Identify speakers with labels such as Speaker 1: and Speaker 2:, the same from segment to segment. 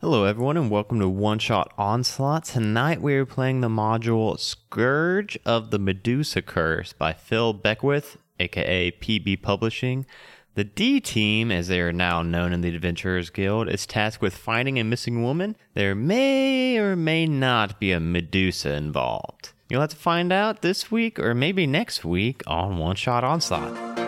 Speaker 1: Hello, everyone, and welcome to One Shot Onslaught. Tonight we are playing the module Scourge of the Medusa Curse by Phil Beckwith, aka PB Publishing. The D team, as they are now known in the Adventurers Guild, is tasked with finding a missing woman. There may or may not be a Medusa involved. You'll have to find out this week or maybe next week on One Shot Onslaught.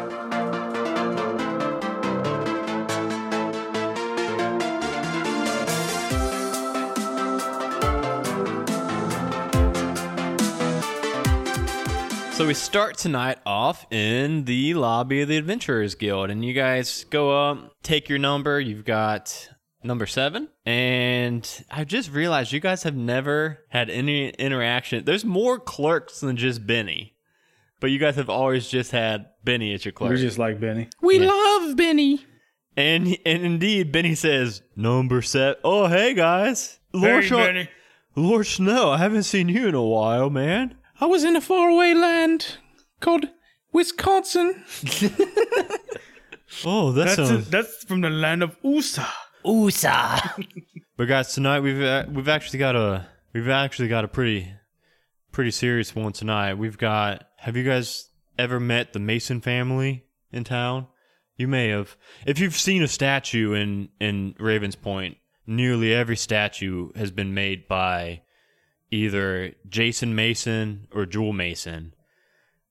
Speaker 1: So we start tonight off in the lobby of the Adventurers Guild, and you guys go up, take your number. You've got number seven, and I just realized you guys have never had any interaction. There's more clerks than just Benny, but you guys have always just had Benny as your clerk.
Speaker 2: We just like Benny.
Speaker 3: We love Benny.
Speaker 1: and and indeed, Benny says number seven. Oh hey guys, Lord, Snow- Lord Snow, I haven't seen you in a while, man.
Speaker 3: I was in a faraway land called Wisconsin.
Speaker 1: Oh, that
Speaker 2: That's
Speaker 1: sounds
Speaker 2: that's from the land of USA.
Speaker 1: But guys, tonight we've uh, we've actually got a we've actually got a pretty pretty serious one tonight. We've got have you guys ever met the Mason family in town? You may have. If you've seen a statue in in Ravens Point, nearly every statue has been made by either Jason Mason or Jewel Mason.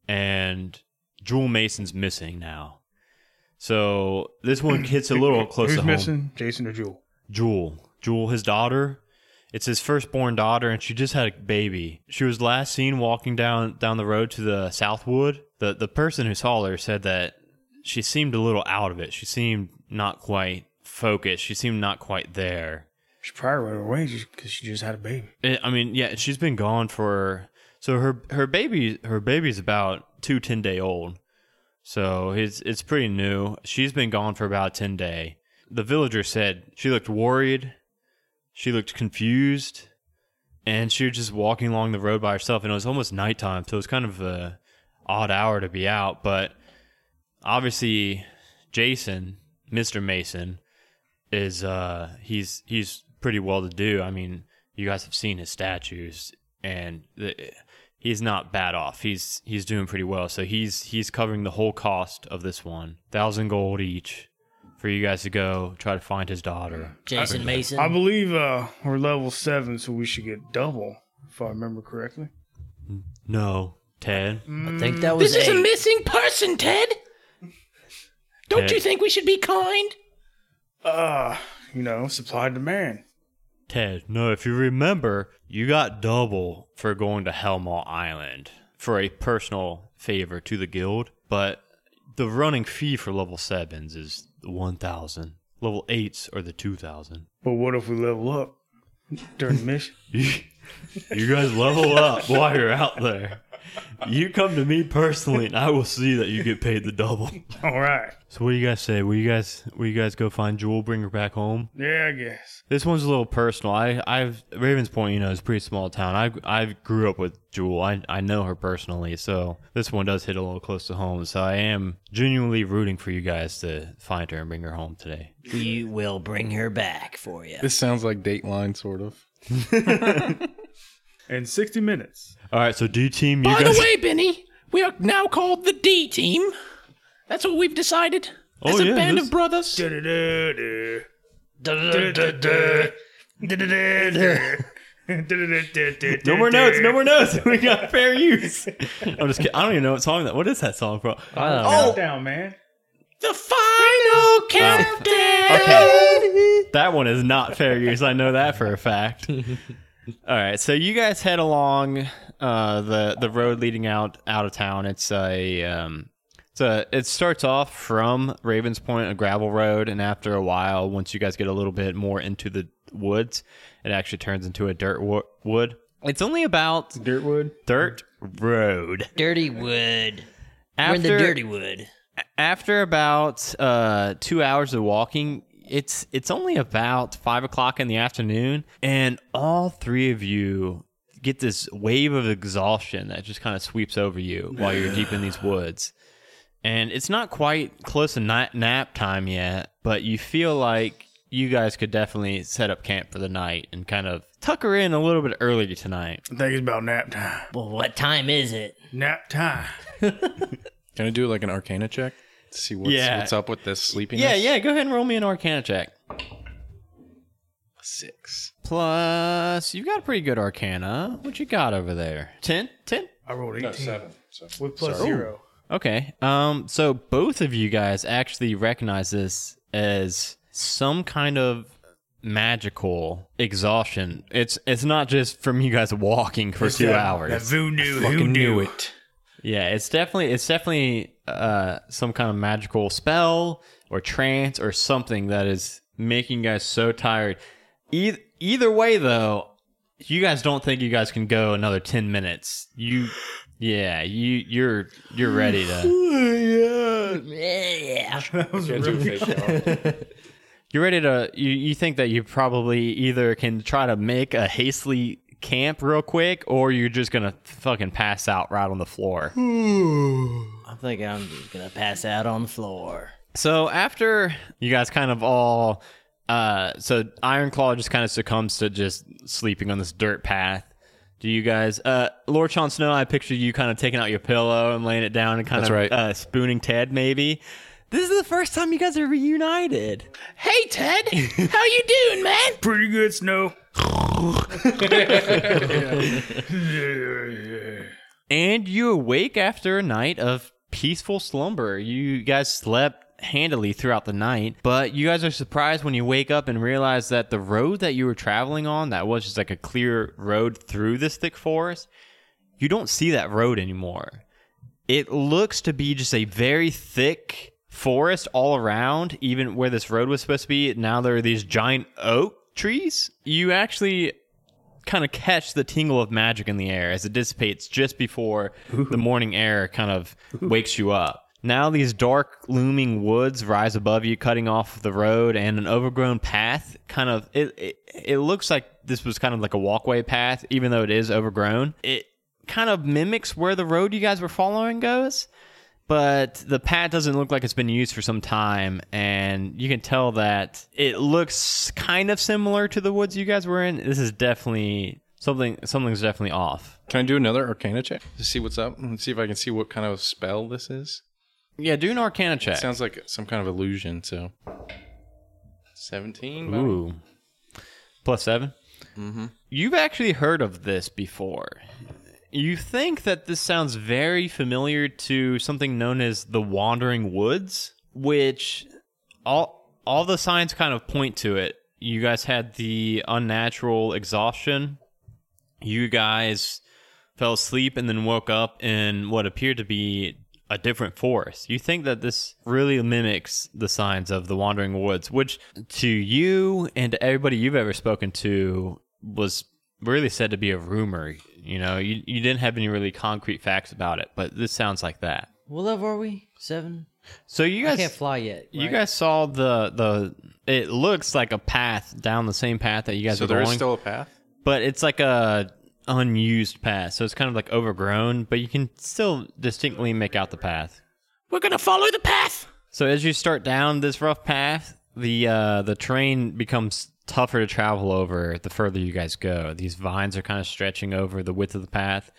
Speaker 1: And Jewel Mason's missing now. So this one hits a little close
Speaker 2: Who's
Speaker 1: to home.
Speaker 2: missing? Jason or Jewel?
Speaker 1: Jewel. Jewel, his daughter. It's his firstborn daughter, and she just had a baby. She was last seen walking down down the road to the Southwood. The the person who saw her said that she seemed a little out of it. She seemed not quite focused. She seemed not quite there.
Speaker 2: She probably ran away because she just had a baby.
Speaker 1: I I mean, yeah, she's been gone for so her her baby her baby's about two ten day old, so it's it's pretty new. She's been gone for about ten day. The villager said she looked worried, she looked confused, and she was just walking along the road by herself. And it was almost nighttime, so it was kind of a odd hour to be out. But obviously, Jason, Mister Mason, is uh he's he's pretty well to do. I mean, you guys have seen his statues and the, he's not bad off. He's he's doing pretty well. So he's he's covering the whole cost of this one. 1000 gold each for you guys to go try to find his daughter.
Speaker 4: Jason Mason.
Speaker 3: Um,
Speaker 2: I believe uh, we're level seven, so we should get double, if I remember correctly.
Speaker 1: No, Ted.
Speaker 4: I think that was
Speaker 3: This is a
Speaker 4: eight.
Speaker 3: missing person, Ted. Don't
Speaker 1: Ted.
Speaker 3: you think we should be kind?
Speaker 2: Uh, you know, supply and demand.
Speaker 1: Ted, no, if you remember, you got double for going to Hellmall Island for a personal favor to the guild, but the running fee for level sevens is the one thousand. Level eights are the two thousand.
Speaker 2: But what if we level up during the mission?
Speaker 1: You, you guys level up while you're out there. You come to me personally, and I will see that you get paid the double.
Speaker 2: All right.
Speaker 1: So, what do you guys say? Will you guys, will you guys go find Jewel, bring her back home?
Speaker 2: Yeah, I guess.
Speaker 1: This one's a little personal. I, I've Ravens Point, you know, is a pretty small town. I, I grew up with Jewel. I, I know her personally, so this one does hit a little close to home. So I am genuinely rooting for you guys to find her and bring her home today.
Speaker 4: We will bring her back for you.
Speaker 5: This sounds like Dateline, sort of.
Speaker 2: In 60 minutes.
Speaker 1: All right, so D team, you
Speaker 3: By
Speaker 1: guys.
Speaker 3: the way, Benny, we are now called the D team. That's what we've decided.
Speaker 1: Oh,
Speaker 3: As a
Speaker 1: yeah,
Speaker 3: band
Speaker 1: this-
Speaker 3: of brothers.
Speaker 2: Du-du-du-du.
Speaker 4: Du-du-du-du.
Speaker 2: Oh! Du-du-du-du. Du-du-du-du. Du-du-du-du-du-du-du.
Speaker 1: no more notes. No more notes. We got fair use. I'm just kidding. I don't even know what song that. What is that song from?
Speaker 4: Oh.
Speaker 2: Calm down, man.
Speaker 3: The final
Speaker 4: Oh.
Speaker 3: countdown.
Speaker 1: Okay. That one is not fair use. I know that for a fact. All right, so you guys head along uh, the the road leading out out of town. It's a um, it's a it starts off from Ravens Point, a gravel road, and after a while, once you guys get a little bit more into the woods, it actually turns into a dirt wo- wood. It's only about
Speaker 2: Dirtwood.
Speaker 1: dirt road.
Speaker 4: Dirty wood.
Speaker 1: After
Speaker 4: We're in the dirty wood.
Speaker 1: after about uh, two hours of walking, it's it's only about five o'clock in the afternoon, and all three of you get this wave of exhaustion that just kind of sweeps over you while you're deep in these woods. And it's not quite close to night nap time yet, but you feel like you guys could definitely set up camp for the night and kind of tuck her in a little bit early tonight.
Speaker 2: I think it's about nap time.
Speaker 4: Well, what time is it?
Speaker 2: Nap time.
Speaker 5: Can I do like an Arcana check? To see what's
Speaker 1: Yeah.
Speaker 5: what's up with this sleepiness.
Speaker 1: Yeah, yeah. Go ahead and roll me an Arcana check.
Speaker 5: Six.
Speaker 1: Plus, you got a pretty good Arcana. What you got over there? Ten? Ten?
Speaker 2: I rolled 18.
Speaker 5: So
Speaker 2: With plus zero.
Speaker 1: Okay. Um. So both of you guys actually recognize this as some kind of magical exhaustion. It's it's not just from you guys walking for two
Speaker 2: That-
Speaker 1: hours.
Speaker 2: That voodoo.
Speaker 5: fucking
Speaker 2: hoodoo.
Speaker 5: knew it.
Speaker 1: Yeah, it's definitely it's definitely uh, some kind of magical spell or trance or something that is making you guys so tired. Either, either way, though, you guys don't think you guys can go another ten minutes. You, yeah, you you're you're ready to
Speaker 4: Yeah.
Speaker 1: you're ready to you, you think that you probably either can try to make a hastily camp real quick or you're just gonna fucking pass out right on the floor.
Speaker 4: I think I'm just gonna pass out on the floor.
Speaker 1: So after you guys kind of all, uh, so Ironclaw just kind of succumbs to just sleeping on this dirt path. Do you guys, uh, Lord Sean Snow? I picture you kind of taking out your pillow and laying it down and kind
Speaker 5: That's
Speaker 1: of
Speaker 5: right.
Speaker 1: uh, spooning Ted. Maybe this is the first time you guys are reunited.
Speaker 3: Hey, Ted, how you doing, man?
Speaker 2: Pretty good snow.
Speaker 1: and you awake after a night of peaceful slumber. You guys slept handily throughout the night, but you guys are surprised when you wake up and realize that the road that you were traveling on, that was just like a clear road through this thick forest, you don't see that road anymore. It looks to be just a very thick forest all around, even where this road was supposed to be. Now there are these giant oak trees. You actually kind of catch the tingle of magic in the air as it dissipates just before the morning air kind of wakes you up. Now these dark looming woods rise above you, cutting off the road and an overgrown path. Kind of it, it it looks like this was kind of like a walkway path, even though it is overgrown. It kind of mimics where the road you guys were following goes but the pad doesn't look like it's been used for some time and you can tell that it looks kind of similar to the woods you guys were in this is definitely something something's definitely off
Speaker 5: Can I do another Arcana check to see what's up and see if I can see what kind of spell this is?
Speaker 1: yeah do an arcana check
Speaker 5: It sounds like some kind of illusion. So seventeen. buddy?
Speaker 1: ooh plus 7 mm-hmm. you've actually heard of this before you think that this sounds very familiar to something known as the wandering woods which all all the signs kind of point to it. You guys had the unnatural exhaustion. You guys fell asleep and then woke up in what appeared to be a different forest. You think that this really mimics the signs of the Wandering Woods, which to you and to everybody you've ever spoken to was really said to be a rumor. You know, you, you didn't have any really concrete facts about it, but this sounds like that.
Speaker 4: What level are we? Seven.
Speaker 1: So you
Speaker 4: I
Speaker 1: guys
Speaker 4: can't fly yet.
Speaker 1: you
Speaker 4: right?
Speaker 1: guys saw the the. It looks like a path down the same path that you guys
Speaker 5: So
Speaker 1: are
Speaker 5: there is
Speaker 1: going,
Speaker 5: still a path.
Speaker 1: but it's like a unused path, so it's kind of like overgrown, but you can still distinctly make out the path.
Speaker 3: We're gonna follow the path.
Speaker 1: So as you start down this rough path, the uh, the terrain becomes tougher to travel over the further you guys go. These vines are kind of stretching over the width of the path,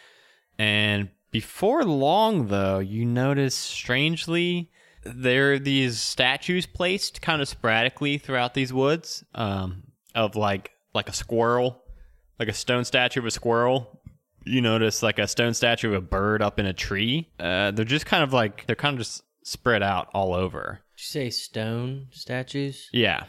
Speaker 1: and before long, though, you notice strangely there are these statues placed kind of sporadically throughout these woods um, of like like a squirrel, like a stone statue of a squirrel you notice like a stone statue of a bird up in a tree. Uh, they're just kind of like they're kind of just spread out all over.
Speaker 4: Did you say stone statues?
Speaker 1: Yeah,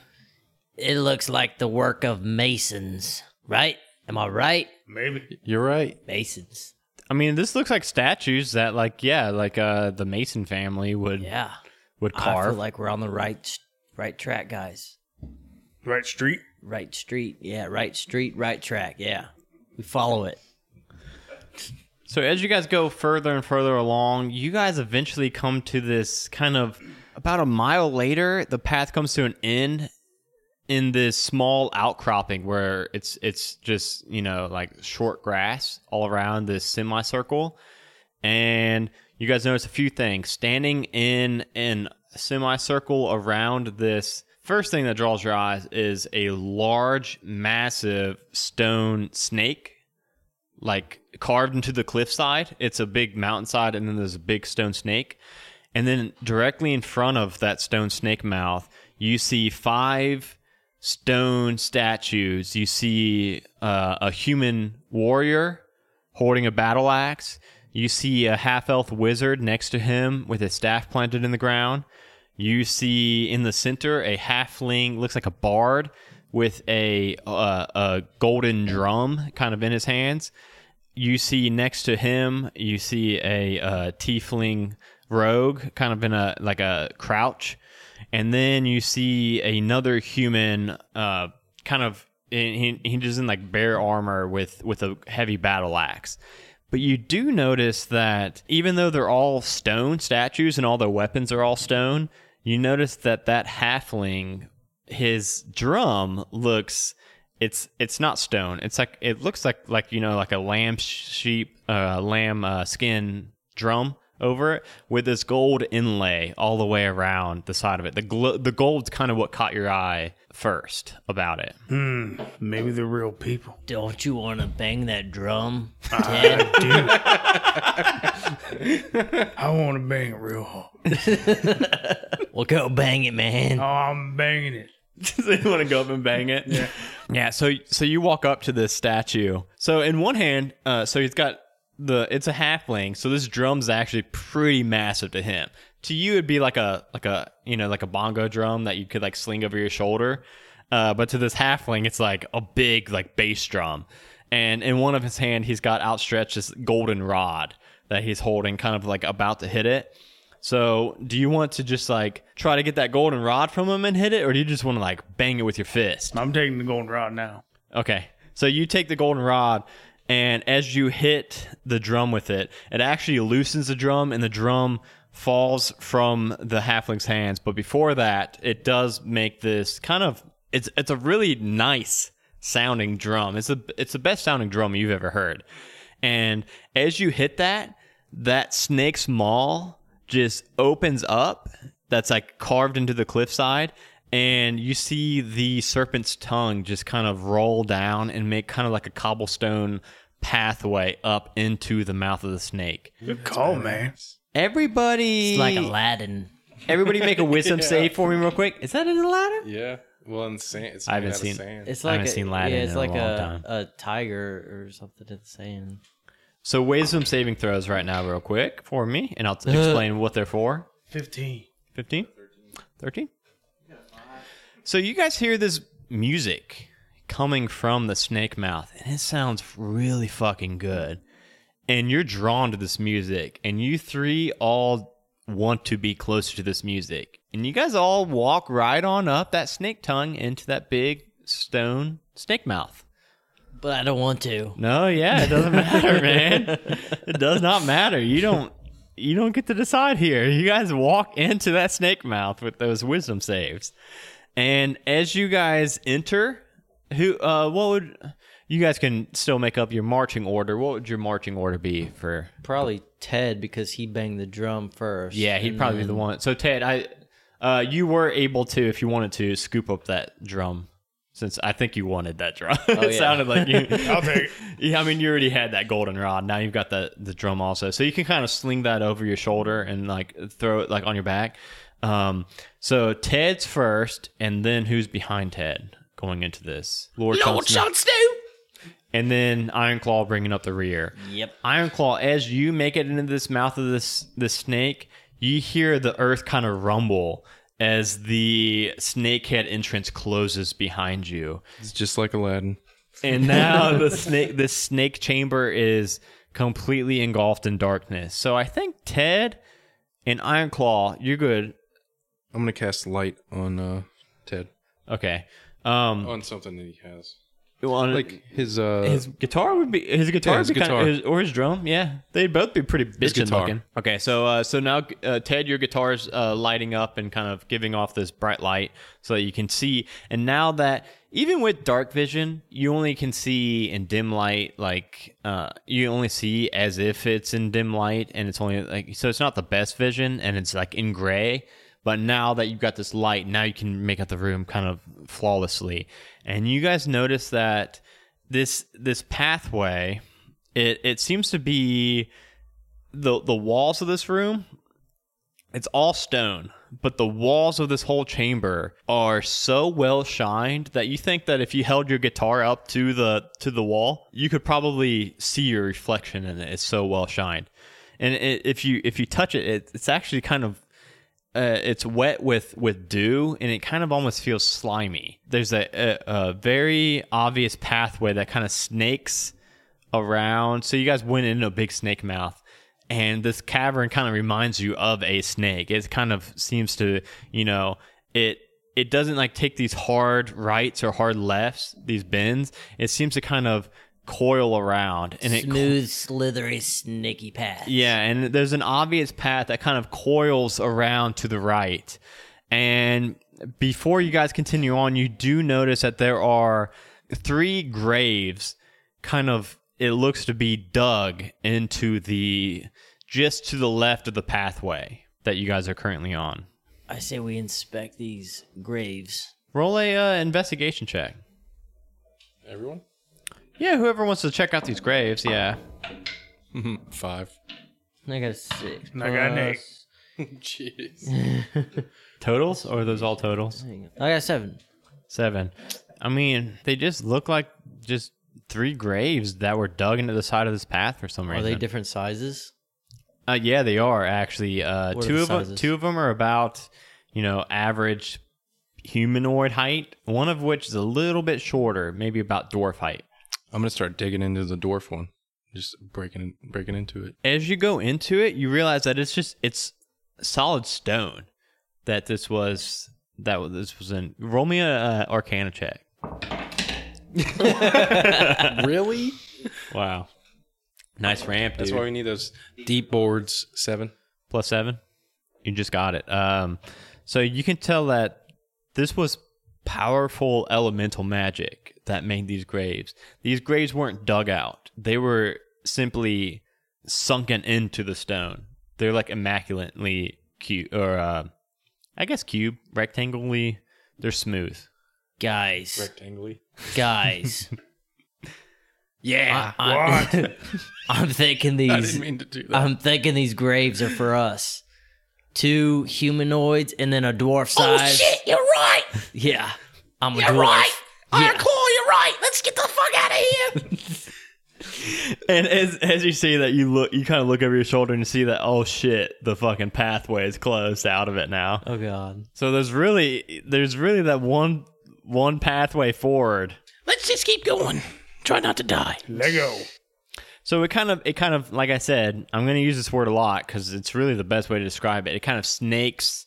Speaker 4: It looks like the work of masons, right? Am I right?
Speaker 2: Maybe.
Speaker 5: You're right.
Speaker 4: Masons.
Speaker 1: I mean, this looks like statues that like yeah, like uh, the Mason family would
Speaker 4: Yeah.
Speaker 1: would
Speaker 4: I feel
Speaker 1: carve.
Speaker 4: like we're on the right right track, guys.
Speaker 2: Right street.
Speaker 4: Right street. Yeah, right street, right track. Yeah. We follow it.
Speaker 1: So as you guys go further and further along, you guys eventually come to this kind of about a mile later, the path comes to an end in this small outcropping where it's it's just, you know, like short grass all around this semicircle. And you guys notice a few things. Standing in an semicircle around this first thing that draws your eyes is a large, massive stone snake, like carved into the cliffside. It's a big mountainside, and then there's a big stone snake. And then directly in front of that stone snake mouth, you see five stone statues. You see uh, a human warrior holding a battle axe. You see a half elf wizard next to him with his staff planted in the ground. You see in the center a halfling, looks like a bard, with a uh, a golden drum kind of in his hands. You see next to him, you see a uh, tiefling rogue, kind of in a like a crouch, and then you see another human, uh, kind of he he- he's just in like bare armor with with a heavy battle axe. But you do notice that even though they're all stone statues and all their weapons are all stone, you notice that that halfling, his drum looks it's it's not stone. It's like it looks like like you know like a lamb sh- sheep uh, lamb uh, skin drum over it with this gold inlay all the way around the side of it. The gl- the gold's kind of what caught your eye first about it.
Speaker 2: Maybe they're real people.
Speaker 4: Don't you want to bang that drum, Ted?
Speaker 2: I want to bang it real hard.
Speaker 4: well, go bang it, man.
Speaker 2: Oh, I'm banging it.
Speaker 1: so you want to go up and bang it. Yeah. So so you walk up to this statue. So in one hand, uh, so he's got the it's a halfling. So this drum's actually pretty massive to him. To you, it'd be like a like a you know like a bongo drum that you could like sling over your shoulder. Uh, but to this halfling, it's like a big like bass drum. And in one of his hand, he's got outstretched this golden rod that he's holding, kind of like about to hit it. So, do you want to just like try to get that golden rod from him and hit it, or do you just want to like bang it with your fist?
Speaker 2: I'm taking the golden rod now.
Speaker 1: Okay. So, you take the golden rod, and as you hit the drum with it, it actually loosens the drum, and the drum falls from the halfling's hands. But before that, it does make this kind of it's it's a really nice sounding drum. It's the it's the best sounding drum you've ever heard. And as you hit that, that snake's maw just opens up that's like carved into the cliffside and you see the serpent's tongue just kind of roll down and make kind of like a cobblestone pathway up into the mouth of the snake.
Speaker 2: Good call, man.
Speaker 1: Everybody
Speaker 4: It's like Aladdin.
Speaker 1: everybody make a wisdom save for me real quick. Is that an Aladdin?
Speaker 5: Yeah. Well, in sand. It's
Speaker 1: I haven't
Speaker 5: made out of
Speaker 1: seen-
Speaker 5: sand.
Speaker 6: It's
Speaker 1: I
Speaker 6: like
Speaker 1: haven't
Speaker 6: a,
Speaker 1: seen Aladdin
Speaker 6: yeah, it's
Speaker 1: in a
Speaker 6: like
Speaker 1: long
Speaker 6: a,
Speaker 1: time.
Speaker 6: a tiger or something at the same.
Speaker 1: So wisdom saving throws right now real quick for me and I'll
Speaker 4: Uh,
Speaker 1: t- explain what they're for.
Speaker 2: 15.
Speaker 1: 15 13 so you guys hear this music coming from the snake mouth and it sounds really fucking good and you're drawn to this music and you three all want to be closer to this music and you guys all walk right on up that snake tongue into that big stone snake mouth
Speaker 4: But I don't want to.
Speaker 1: no, yeah, it doesn't matter, man. It does not matter. You don't you don't get to decide here. You guys walk into that snake mouth with those wisdom saves. And as you guys enter, who uh what would you guys can still make up your marching order. What would your marching order be for
Speaker 6: Probably Ted because he banged the drum first.
Speaker 1: Yeah, he'd probably be the one. So Ted, I uh you were able to if you wanted to scoop up that drum since I think you wanted that drum. it
Speaker 6: yeah.
Speaker 1: sounded like you
Speaker 2: I'll take it.
Speaker 1: yeah, I mean, you already had that golden rod. Now you've got the the drum also, so you can kind of sling that over your shoulder and like throw it like on your back. Um, so Ted's first, and then who's behind Ted going into this? Lord,
Speaker 3: Lord
Speaker 1: Johnson,
Speaker 3: Shot Stew!
Speaker 1: and then Iron Claw bringing up the rear.
Speaker 4: Yep.
Speaker 1: Iron Claw, as you make it into this mouth of this this snake, you hear the earth kind of rumble as the snakehead entrance closes behind you
Speaker 5: It's just like Aladdin.
Speaker 1: and now the snake the snake chamber is completely engulfed in darkness. So I think Ted and Ironclaw, you're good.
Speaker 5: I'm gonna cast light on uh, Ted.
Speaker 1: Okay. Um
Speaker 5: On something that he has.
Speaker 1: on-
Speaker 5: Like his uh.
Speaker 1: his guitar would be his guitar,
Speaker 5: Yeah, his
Speaker 1: would be kinda-
Speaker 5: guitar.
Speaker 1: his- or his drum, yeah. They'd both be pretty bitchin'
Speaker 5: guitar.
Speaker 1: looking. Okay, so uh, so now uh, Ted, your guitar's uh, lighting up and kind of giving off this bright light so that you can see. And now that even with dark vision, you only can see in dim light. Like uh, you only see as if it's in dim light, and it's only like so it's not the best vision, and it's like in gray. But now that you've got this light, now you can make out the room kind of flawlessly. And you guys notice that this this pathway, it it seems to be the the walls of this room it's all stone, but the walls of this whole chamber are so well shined that you think that if you held your guitar up to the to the wall, you could probably see your reflection in it. It's so well shined, and it, if you if you touch it, it it's actually kind of uh, it's wet with with dew, and it kind of almost feels slimy. There's a, a, a very obvious pathway that kind of snakes around. So you guys went into a big snake mouth, and this cavern kind of reminds you of a snake. It kind of seems to, you know, it it doesn't like take these hard rights or hard lefts, these bends. It seems to kind of coil around, and it
Speaker 4: Smooth, slithery, snaky path.
Speaker 1: yeah, and there's an obvious path that kind of coils around to the right. And before you guys continue on, you do notice that there are three graves kind of it looks to be dug into the just to the left of the pathway that you guys are currently on.
Speaker 4: I say we inspect these graves.
Speaker 1: Roll a uh, investigation check.
Speaker 5: Everyone?
Speaker 1: Yeah, whoever wants to check out these graves, yeah.
Speaker 5: Five.
Speaker 6: I got a six.
Speaker 2: And I got an eight.
Speaker 6: plus-
Speaker 5: Jeez.
Speaker 1: Totals or are those all totals?
Speaker 6: I got a seven.
Speaker 1: Seven. I mean, they just look like just three graves that were dug into the side of this path for some
Speaker 6: Are
Speaker 1: reason.
Speaker 6: they different sizes?
Speaker 1: Uh, yeah, they are actually. Uh,
Speaker 6: What are
Speaker 1: two
Speaker 6: the
Speaker 1: of them.
Speaker 6: sizes?
Speaker 1: Two of them are about you know average humanoid height. One of which is a little bit shorter, maybe about dwarf height.
Speaker 5: I'm gonna start digging into the dwarf one. Just breaking breaking into it.
Speaker 1: As you go into it, you realize that it's just it's solid stone. That this was that was, this was in. Roll me a uh, Arcana check.
Speaker 5: really?
Speaker 1: Wow, nice ramp.
Speaker 5: That's
Speaker 1: dude.
Speaker 5: why we need those deep boards. Seven.
Speaker 1: plus seven. You just got it. Um, so you can tell that this was powerful elemental magic that made these graves. These graves weren't dug out; they were simply sunken into the stone. They're like immaculately cube, or uh, I guess cube, rectangly. They're smooth.
Speaker 4: Guys,
Speaker 5: Rectangly.
Speaker 4: guys.
Speaker 3: Yeah.
Speaker 4: I'm, I'm thinking
Speaker 5: I
Speaker 4: these.
Speaker 5: didn't mean to do that.
Speaker 4: I'm thinking these graves are for us. Two humanoids and then a dwarf
Speaker 3: oh
Speaker 4: size.
Speaker 3: shit! You're right.
Speaker 4: Yeah, I'm a
Speaker 3: You're
Speaker 4: dwarf.
Speaker 3: right. Yeah.
Speaker 4: Yeah.
Speaker 3: Alright, cool. You're right. Let's get the fuck out of here.
Speaker 1: And as as you see that, you look, you kind of look over your shoulder and see that. Oh shit! The fucking pathway is closed out of it now.
Speaker 6: Oh god.
Speaker 1: So there's really there's really that one one pathway forward.
Speaker 3: Let's just keep going. Try not to die.
Speaker 2: Lego.
Speaker 1: So it kind of it kind of like I said, I'm going to use this word a lot cuz it's really the best way to describe it. It kind of snakes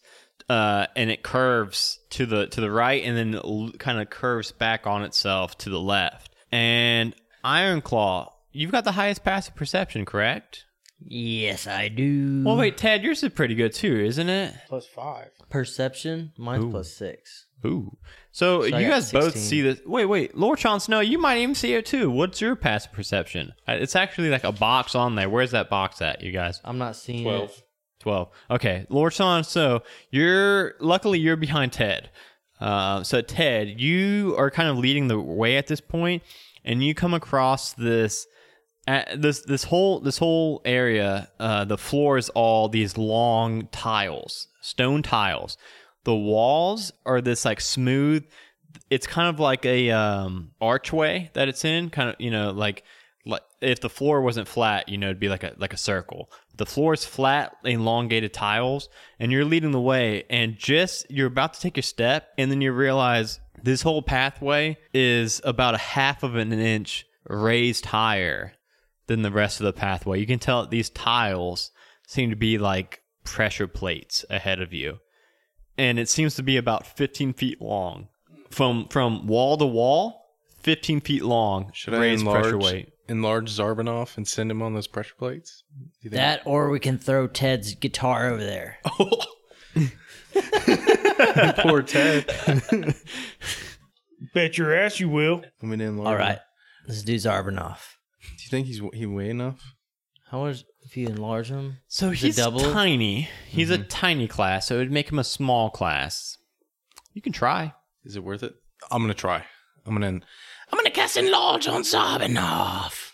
Speaker 1: uh, and it curves to the to the right and then l- kind of curves back on itself to the left. And Iron Claw, you've got the highest passive perception, correct?
Speaker 4: Yes, I do.
Speaker 1: Well, wait, Ted, yours is pretty good too, isn't it?
Speaker 2: Plus five.
Speaker 6: Perception. Mine's plus six.
Speaker 1: Ooh. So,
Speaker 6: I
Speaker 1: you
Speaker 6: got
Speaker 1: guys both
Speaker 6: 16.
Speaker 1: see this. Wait, wait, Lord Sean Snow, you might even see it too. What's your passive perception? Uh, It's actually like a box on there. Where's that box at, you guys?
Speaker 6: I'm not seeing it.
Speaker 5: Twelve.
Speaker 1: 12. Okay, Lord Sean Snow, you're luckily you're behind Ted. Uh, so Ted, you are kind of leading the way at this point, and you come across this at Uh, this this whole this whole area uh, the floor is all these long tiles stone tiles the walls are this like smooth it's kind of like a um, archway that it's in kind of you know like like if the floor wasn't flat you know it'd be like a like a circle the floor is flat elongated tiles and you're leading the way and just you're about to take your step and then you realize this whole pathway is about a half of an inch raised higher than the rest of the pathway. You can tell that these tiles seem to be like pressure plates ahead of you. And it seems to be about 15 feet long. From from wall to wall, 15 feet long.
Speaker 5: Should I enlarge enlarge Zarbanov and send him on those pressure plates? Do you think-
Speaker 4: that, or we can throw Ted's guitar over there.
Speaker 5: Oh. poor Ted.
Speaker 2: Bet your ass you will.
Speaker 5: I'm gonna enlarge.
Speaker 4: All
Speaker 5: him.
Speaker 4: right, let's do Zarbanov.
Speaker 5: Do you think he's he weigh enough?
Speaker 6: How much if you enlarge them?
Speaker 1: So
Speaker 6: Is it
Speaker 1: he's
Speaker 6: double? Mm-hmm.
Speaker 1: tiny. He's a tiny class, so it would make him a small class. You can try.
Speaker 5: Is it worth it? I'm gonna try. I'm gonna.
Speaker 3: I'm gonna cast enlarge on Zabinoff.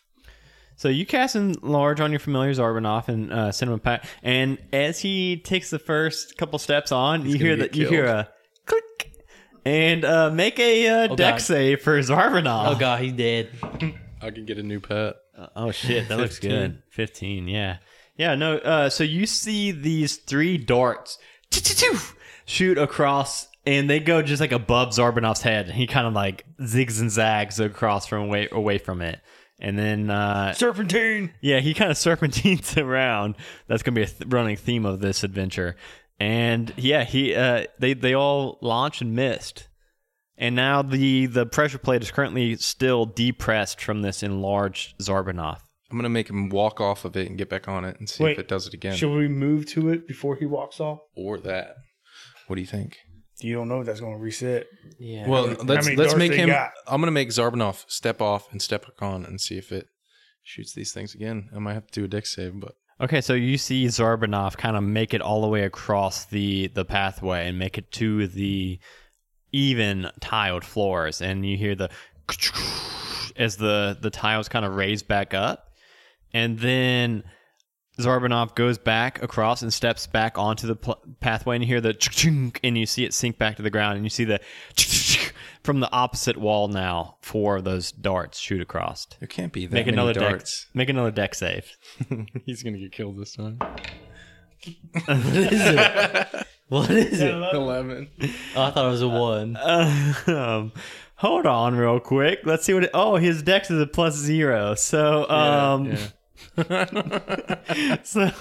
Speaker 1: So you cast enlarge on your familiar Zarbanoff and uh, send him a pack. And as he takes the first couple steps on, you hear
Speaker 5: gonna
Speaker 1: that
Speaker 5: get
Speaker 1: you hear
Speaker 5: killed.
Speaker 1: a click, and uh, make a uh, deck
Speaker 6: God.
Speaker 1: save for Zarbanoff.
Speaker 6: Oh god, he's dead.
Speaker 5: I can get a new pet.
Speaker 1: Oh shit, that looks
Speaker 6: 15.
Speaker 1: good. Fifteen, yeah, yeah. No, uh, so you see these three darts shoot across, and they go just like above Zarbanov's head. He kind of like zigs and zags across from away away from it, and then uh,
Speaker 2: Serpentine.
Speaker 1: yeah, he kind of serpentines around. That's gonna be a th- running theme of this adventure. And yeah, he uh, they they all launched and missed. And now the the pressure plate is currently still depressed from this enlarged Zarbanov.
Speaker 5: I'm gonna make him walk off of it and get back on it and see
Speaker 2: Wait,
Speaker 5: if it does it again.
Speaker 2: Should we move to it before he walks off?
Speaker 5: or that. What do you think?
Speaker 2: You don't know if that's going to reset.
Speaker 6: Yeah.
Speaker 5: Well,
Speaker 2: many-
Speaker 5: let's
Speaker 2: how many
Speaker 5: let's
Speaker 2: darts
Speaker 5: make
Speaker 2: they
Speaker 5: him.
Speaker 2: got?
Speaker 5: I'm gonna make Zarbanoff step off and step back on and see if it shoots these things again. I might have to do a deck save, but
Speaker 1: Okay, so you see Zarbanov kind of make it all the way across the the pathway and make it to the even tiled floors, and you hear the as the the tiles kind of raise back up, and then Zarbanov goes back across and steps back onto the pl- pathway, and you hear the and you see it sink back to the ground, and you see the from the opposite wall now. Four of those darts shoot across.
Speaker 5: there can't be that
Speaker 1: Make
Speaker 5: many
Speaker 1: another deck.
Speaker 5: darts.
Speaker 1: Make another deck save.
Speaker 5: He's gonna get killed this time.
Speaker 6: What is it?
Speaker 5: Eleven.
Speaker 6: Oh, I thought it was a one.
Speaker 5: uh,
Speaker 1: um, hold on real quick. Let's see what. It, oh, his dex is a plus zero. So, um, so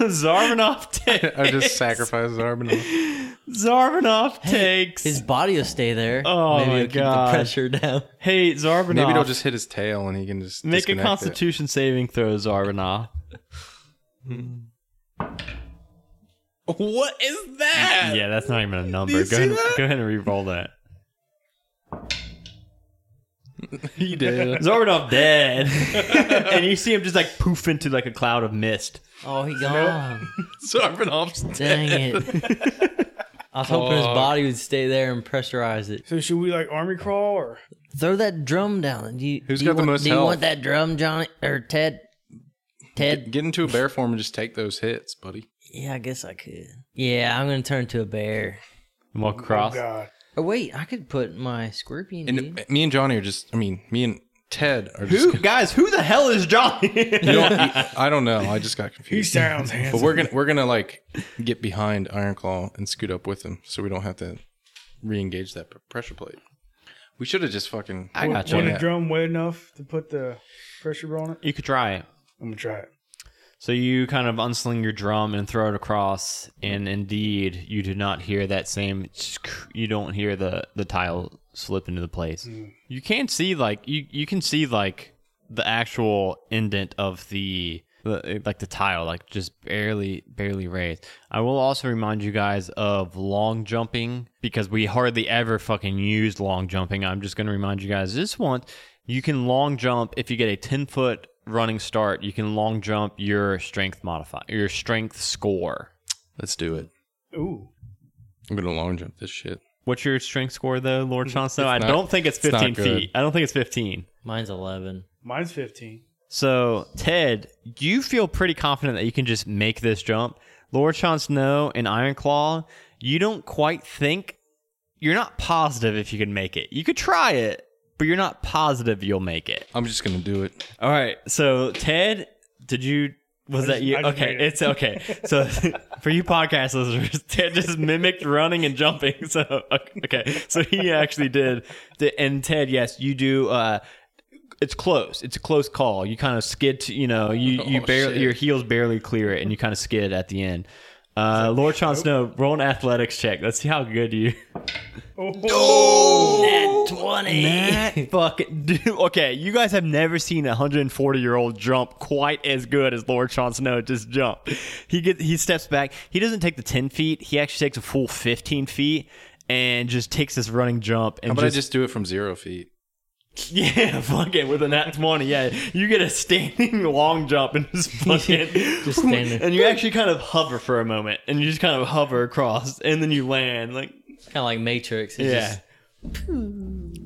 Speaker 1: Zarvanov takes.
Speaker 5: I just sacrificed Zarbanoff.
Speaker 1: Zarvanov takes.
Speaker 6: His body will stay there.
Speaker 1: Oh
Speaker 6: Maybe
Speaker 1: my
Speaker 6: it'll keep
Speaker 1: God.
Speaker 6: the pressure down.
Speaker 1: hey, Zarvanov.
Speaker 5: Maybe it'll just hit his tail and he can just
Speaker 1: make a
Speaker 5: disconnect it.
Speaker 1: Constitution saving throw, Zarvanov.
Speaker 3: What is that?
Speaker 1: Yeah, that's not even a number. Go ahead, go ahead and re-roll that.
Speaker 5: He did.
Speaker 1: Zarvanov dead, and you see him just like poof into like a cloud of mist.
Speaker 6: Oh, he gone.
Speaker 5: Zarbanov's
Speaker 6: Dang it. I was hoping his body would stay there and pressurize it.
Speaker 2: So should we like army crawl or?
Speaker 6: Throw that drum down. Do you,
Speaker 5: Who's
Speaker 6: do you
Speaker 5: got the
Speaker 6: want-
Speaker 5: most
Speaker 6: Do you
Speaker 5: health?
Speaker 6: want that drum, Johnny or Ted? Ted?
Speaker 5: Get into a bear form and just take those hits, buddy.
Speaker 6: Yeah, I guess I could. Yeah, I'm gonna turn to a bear.
Speaker 1: And walk across.
Speaker 2: Oh God.
Speaker 6: Oh wait, I could put my scorpion.
Speaker 5: And
Speaker 6: dude.
Speaker 5: me and Johnny are just. I mean, me and Ted are just.
Speaker 1: who guys? Who the hell is Johnny?
Speaker 5: You don't- I don't know. I just got
Speaker 2: He
Speaker 5: confused.
Speaker 2: sounds
Speaker 5: But
Speaker 2: handsome.
Speaker 5: we're gonna we're gonna like get behind Ironclaw and scoot up with him, so we don't have to re-engage that p- pressure plate. We should have just fucking.
Speaker 1: I got
Speaker 2: When
Speaker 1: you.
Speaker 5: Yeah.
Speaker 2: the drum wet enough to put the pressure on it,
Speaker 1: You could try it.
Speaker 2: I'm gonna try it.
Speaker 1: So you kind of unsling your drum and throw it across, and indeed, you do not hear that same. You don't hear the the tile slip into the place. You can see like you you can see like the actual indent of the, the like the tile, like just barely barely raised. I will also remind you guys of long jumping because we hardly ever fucking used long jumping. I'm just gonna remind you guys this one. You can long jump if you get a 10 foot running start. You can long jump your strength modifier, your strength score.
Speaker 5: Let's do it.
Speaker 2: Ooh.
Speaker 5: I'm gonna long jump this shit.
Speaker 1: What's your strength score though, Lord Chancellor? I
Speaker 5: not-
Speaker 1: don't think it's
Speaker 5: it's not
Speaker 1: 15
Speaker 5: good.
Speaker 1: feet. I don't think it's 15.
Speaker 6: Mine's eleven.
Speaker 2: Mine's 15.
Speaker 1: So, Ted, you feel pretty confident that you can just make this jump. Lord Chance No and Iron Claw, you don't quite think you're not positive if you can make it. You could try it, but you're not positive you'll make it.
Speaker 5: I'm just gonna do it.
Speaker 1: All right. So Ted, did you? Was that
Speaker 2: just-
Speaker 1: you?
Speaker 2: I just
Speaker 1: Okay,
Speaker 2: made it.
Speaker 1: it's okay. So for you podcast listeners, Ted just mimicked running and jumping. So okay, so he actually did. the- And Ted, yes, you do. uh It's close. It's a close call. You kind of skid. To, you know, you you
Speaker 5: Oh,
Speaker 1: barely
Speaker 5: shit.
Speaker 1: your heels barely clear it, and you kind of skid at the end. Uh, Lord Sean Snow, roll an athletics check. Let's see how good you.
Speaker 2: Oh,
Speaker 1: Oh,
Speaker 4: Twenty.
Speaker 1: That fucking dude. Okay, you guys have never seen a 140 year old jump quite as good as Lord Sean Snow just jump. He gets he steps back. He doesn't take the 10 feet. He actually takes a full 15 feet and just takes this running jump and
Speaker 5: How about
Speaker 1: just,
Speaker 5: I just do it from zero feet?
Speaker 1: Yeah, fuck it. With an at 20, yeah. You get a standing long jump and just fucking.
Speaker 6: Just stand there.
Speaker 1: And you actually kind of hover for a moment and you just kind of hover across and then you land. Like,
Speaker 6: Kind of like Matrix. It's
Speaker 1: yeah.
Speaker 6: just-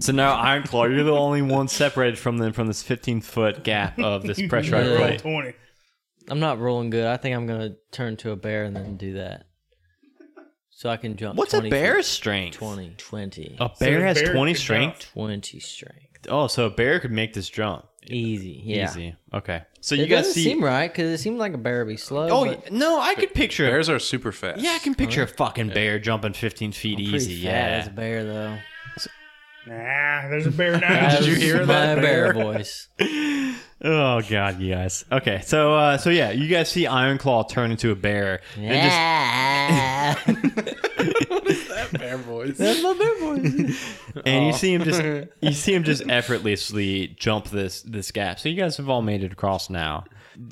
Speaker 1: So now Ironclaw, you're the only one separated from them from this 15 foot gap of this pressurized
Speaker 6: Yeah.
Speaker 1: plate.
Speaker 2: Twenty.
Speaker 6: I'm not rolling good. I think I'm gonna turn to a bear and then do that, so I can jump.
Speaker 1: What's
Speaker 6: 20
Speaker 1: a Oh.
Speaker 6: feet.
Speaker 1: bear's strength?
Speaker 6: 20, 20,
Speaker 1: A
Speaker 2: So
Speaker 1: bear
Speaker 2: the
Speaker 1: has
Speaker 2: bear
Speaker 1: 20
Speaker 2: could
Speaker 1: strength.
Speaker 6: 20 strength.
Speaker 1: Oh, so a bear could make this jump.
Speaker 6: Easy. Yeah.
Speaker 1: Easy. Okay. So
Speaker 6: It
Speaker 1: you guys
Speaker 6: doesn't
Speaker 1: see.
Speaker 6: seem right because it seemed like a bear would be slow.
Speaker 1: oh,
Speaker 6: but
Speaker 1: y- no, I could picture.
Speaker 5: Bears are super fast.
Speaker 1: yeah, I can picture a fucking bear jumping 15 feet
Speaker 6: pretty
Speaker 1: easy.
Speaker 6: fat
Speaker 1: Yeah.
Speaker 6: as a bear though.
Speaker 2: Nah, there's a bear now.
Speaker 6: That
Speaker 5: Did you
Speaker 6: was
Speaker 5: hear that
Speaker 6: My bear,
Speaker 5: bear?
Speaker 6: voice.
Speaker 1: Oh god, you guys. Okay, so uh, so yeah, you guys see Iron Claw turn into a bear and
Speaker 4: Yeah.
Speaker 5: Bear voice.
Speaker 1: just and you see him just you see him just effortlessly jump this this gap. So you guys have all made it across now.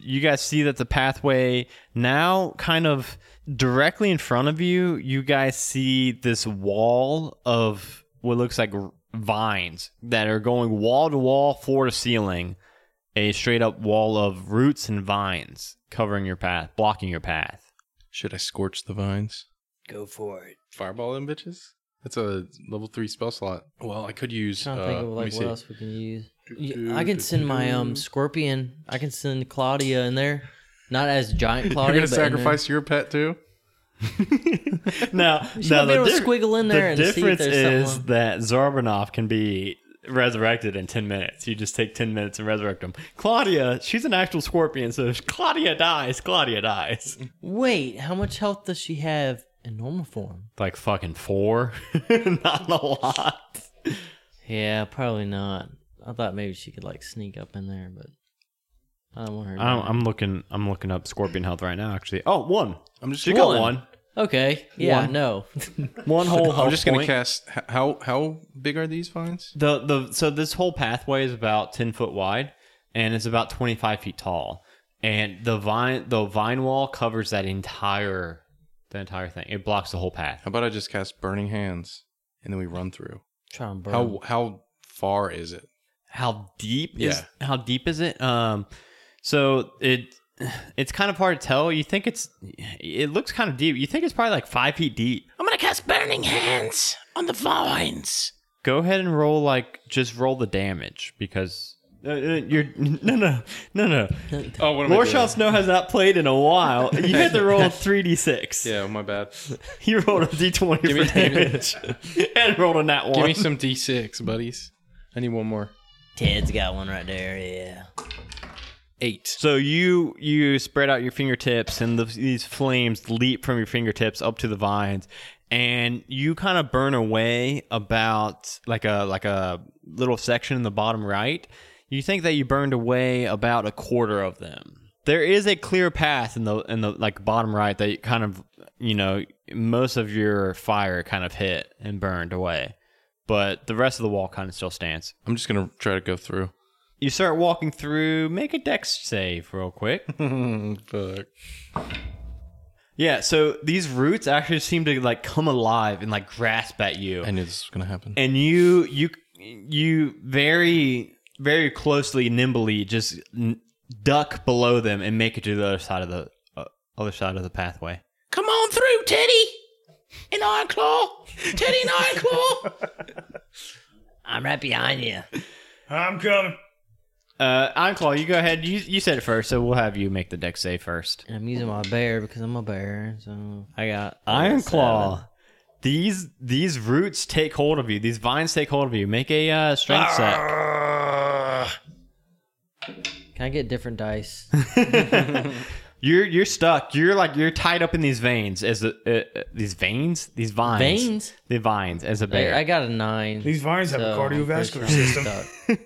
Speaker 1: You guys see that the pathway now kind of directly in front of you, you guys see this wall of what looks like vines that are going wall to wall, floor to ceiling, a straight up wall of roots and vines covering your path, blocking your path.
Speaker 5: Should I scorch the vines?
Speaker 4: Go for it.
Speaker 5: Fireball them bitches? That's a level three spell slot. Well, I could use.
Speaker 6: trying to
Speaker 5: uh,
Speaker 6: think of
Speaker 5: let me
Speaker 6: like what
Speaker 5: see.
Speaker 6: else we can use. Yeah, I can send my um scorpion. I can send Claudia in there, not as giant
Speaker 5: You're
Speaker 6: Claudia.
Speaker 5: gonna
Speaker 6: but in there.
Speaker 5: sacrifice your pet too?
Speaker 1: now,
Speaker 6: She
Speaker 1: now the,
Speaker 6: might be able to
Speaker 1: dif-
Speaker 6: squiggle in there
Speaker 1: the
Speaker 6: and see if
Speaker 1: difference
Speaker 6: there's
Speaker 1: is
Speaker 6: someone.
Speaker 1: that Zarbanov can be resurrected in 10 minutes. You just take 10 minutes and resurrect him. Claudia, she's an actual scorpion, so if Claudia dies, Claudia dies.
Speaker 6: Wait, how much health does she have in normal form?
Speaker 1: Like fucking four. Not a lot.
Speaker 6: Yeah, probably not. I thought maybe she could like sneak up in there, but I don't want her. To
Speaker 1: I'm, I'm looking I'm looking up scorpion health right now, actually. Oh, one.
Speaker 5: I'm just.
Speaker 1: She got
Speaker 5: One.
Speaker 1: one.
Speaker 6: okay, yeah,
Speaker 1: One.
Speaker 6: no.
Speaker 1: One whole
Speaker 5: I'm
Speaker 1: health
Speaker 5: just gonna
Speaker 1: point.
Speaker 5: cast. h- How how big are these vines?
Speaker 1: The the so this whole pathway is about ten foot wide, and it's about twenty five feet tall. And the vine the vine wall covers that entire the entire thing. It blocks the whole path.
Speaker 5: How about I just cast burning hands and then we run through?
Speaker 6: Try and burn.
Speaker 5: How how far is it?
Speaker 1: How deep is
Speaker 5: Yeah.
Speaker 1: how deep is it? Um, so it it's kind of hard to tell. You think it's it looks kind of deep. You think it's probably like five feet deep.
Speaker 3: I'm gonna cast burning hands on the vines.
Speaker 1: Go ahead and roll like just roll the damage because. Uh, uh, you're no no no no.
Speaker 5: Oh, what
Speaker 1: Lorshaw Snow has not played in a while. You had to roll three d six.
Speaker 5: Yeah, my bad.
Speaker 1: He rolled a d20
Speaker 5: me-
Speaker 1: for damage and rolled a nat
Speaker 5: Give
Speaker 1: one.
Speaker 5: me some d6, buddies. I need one more.
Speaker 4: Ted's got one right there. Yeah.
Speaker 5: Eight.
Speaker 1: so you you spread out your fingertips, and the, these flames leap from your fingertips up to the vines, and you kind of burn away about like a like a little section in the bottom right. You think that you burned away about a quarter of them. There is a clear path in the in the like bottom right that you kind of you know most of your fire kind of hit and burned away, but the rest of the wall kind of still stands.
Speaker 5: I'm just gonna try to go through.
Speaker 1: You start walking through. Make a dex save real quick.
Speaker 5: Fuck.
Speaker 1: yeah. So these roots actually seem to like come alive and like grasp at you,
Speaker 5: I knew this was gonna happen.
Speaker 1: and you you you very very closely nimbly just n- duck below them and make it to the other side of the uh, other side of the pathway.
Speaker 3: Come on through, Teddy and Ironclaw. Teddy and Ironclaw.
Speaker 4: I'm right behind you.
Speaker 2: I'm coming.
Speaker 1: Uh, Ironclaw, you go ahead. You you said it first, so we'll have you make the dex save first.
Speaker 6: And I'm using my bear because I'm a bear, so I got
Speaker 1: Ironclaw. These these roots take hold of you. These vines take hold of you. Make a uh, strength check.
Speaker 6: Can I get different dice?
Speaker 1: You're you're stuck. You're like you're tied up in these veins as the uh, uh, these veins, these vines,
Speaker 6: Veins?
Speaker 1: the vines as a bear.
Speaker 6: I, I got a nine.
Speaker 2: These vines have a
Speaker 6: so I'm
Speaker 2: cardiovascular
Speaker 6: pretty
Speaker 2: system.
Speaker 6: stuck.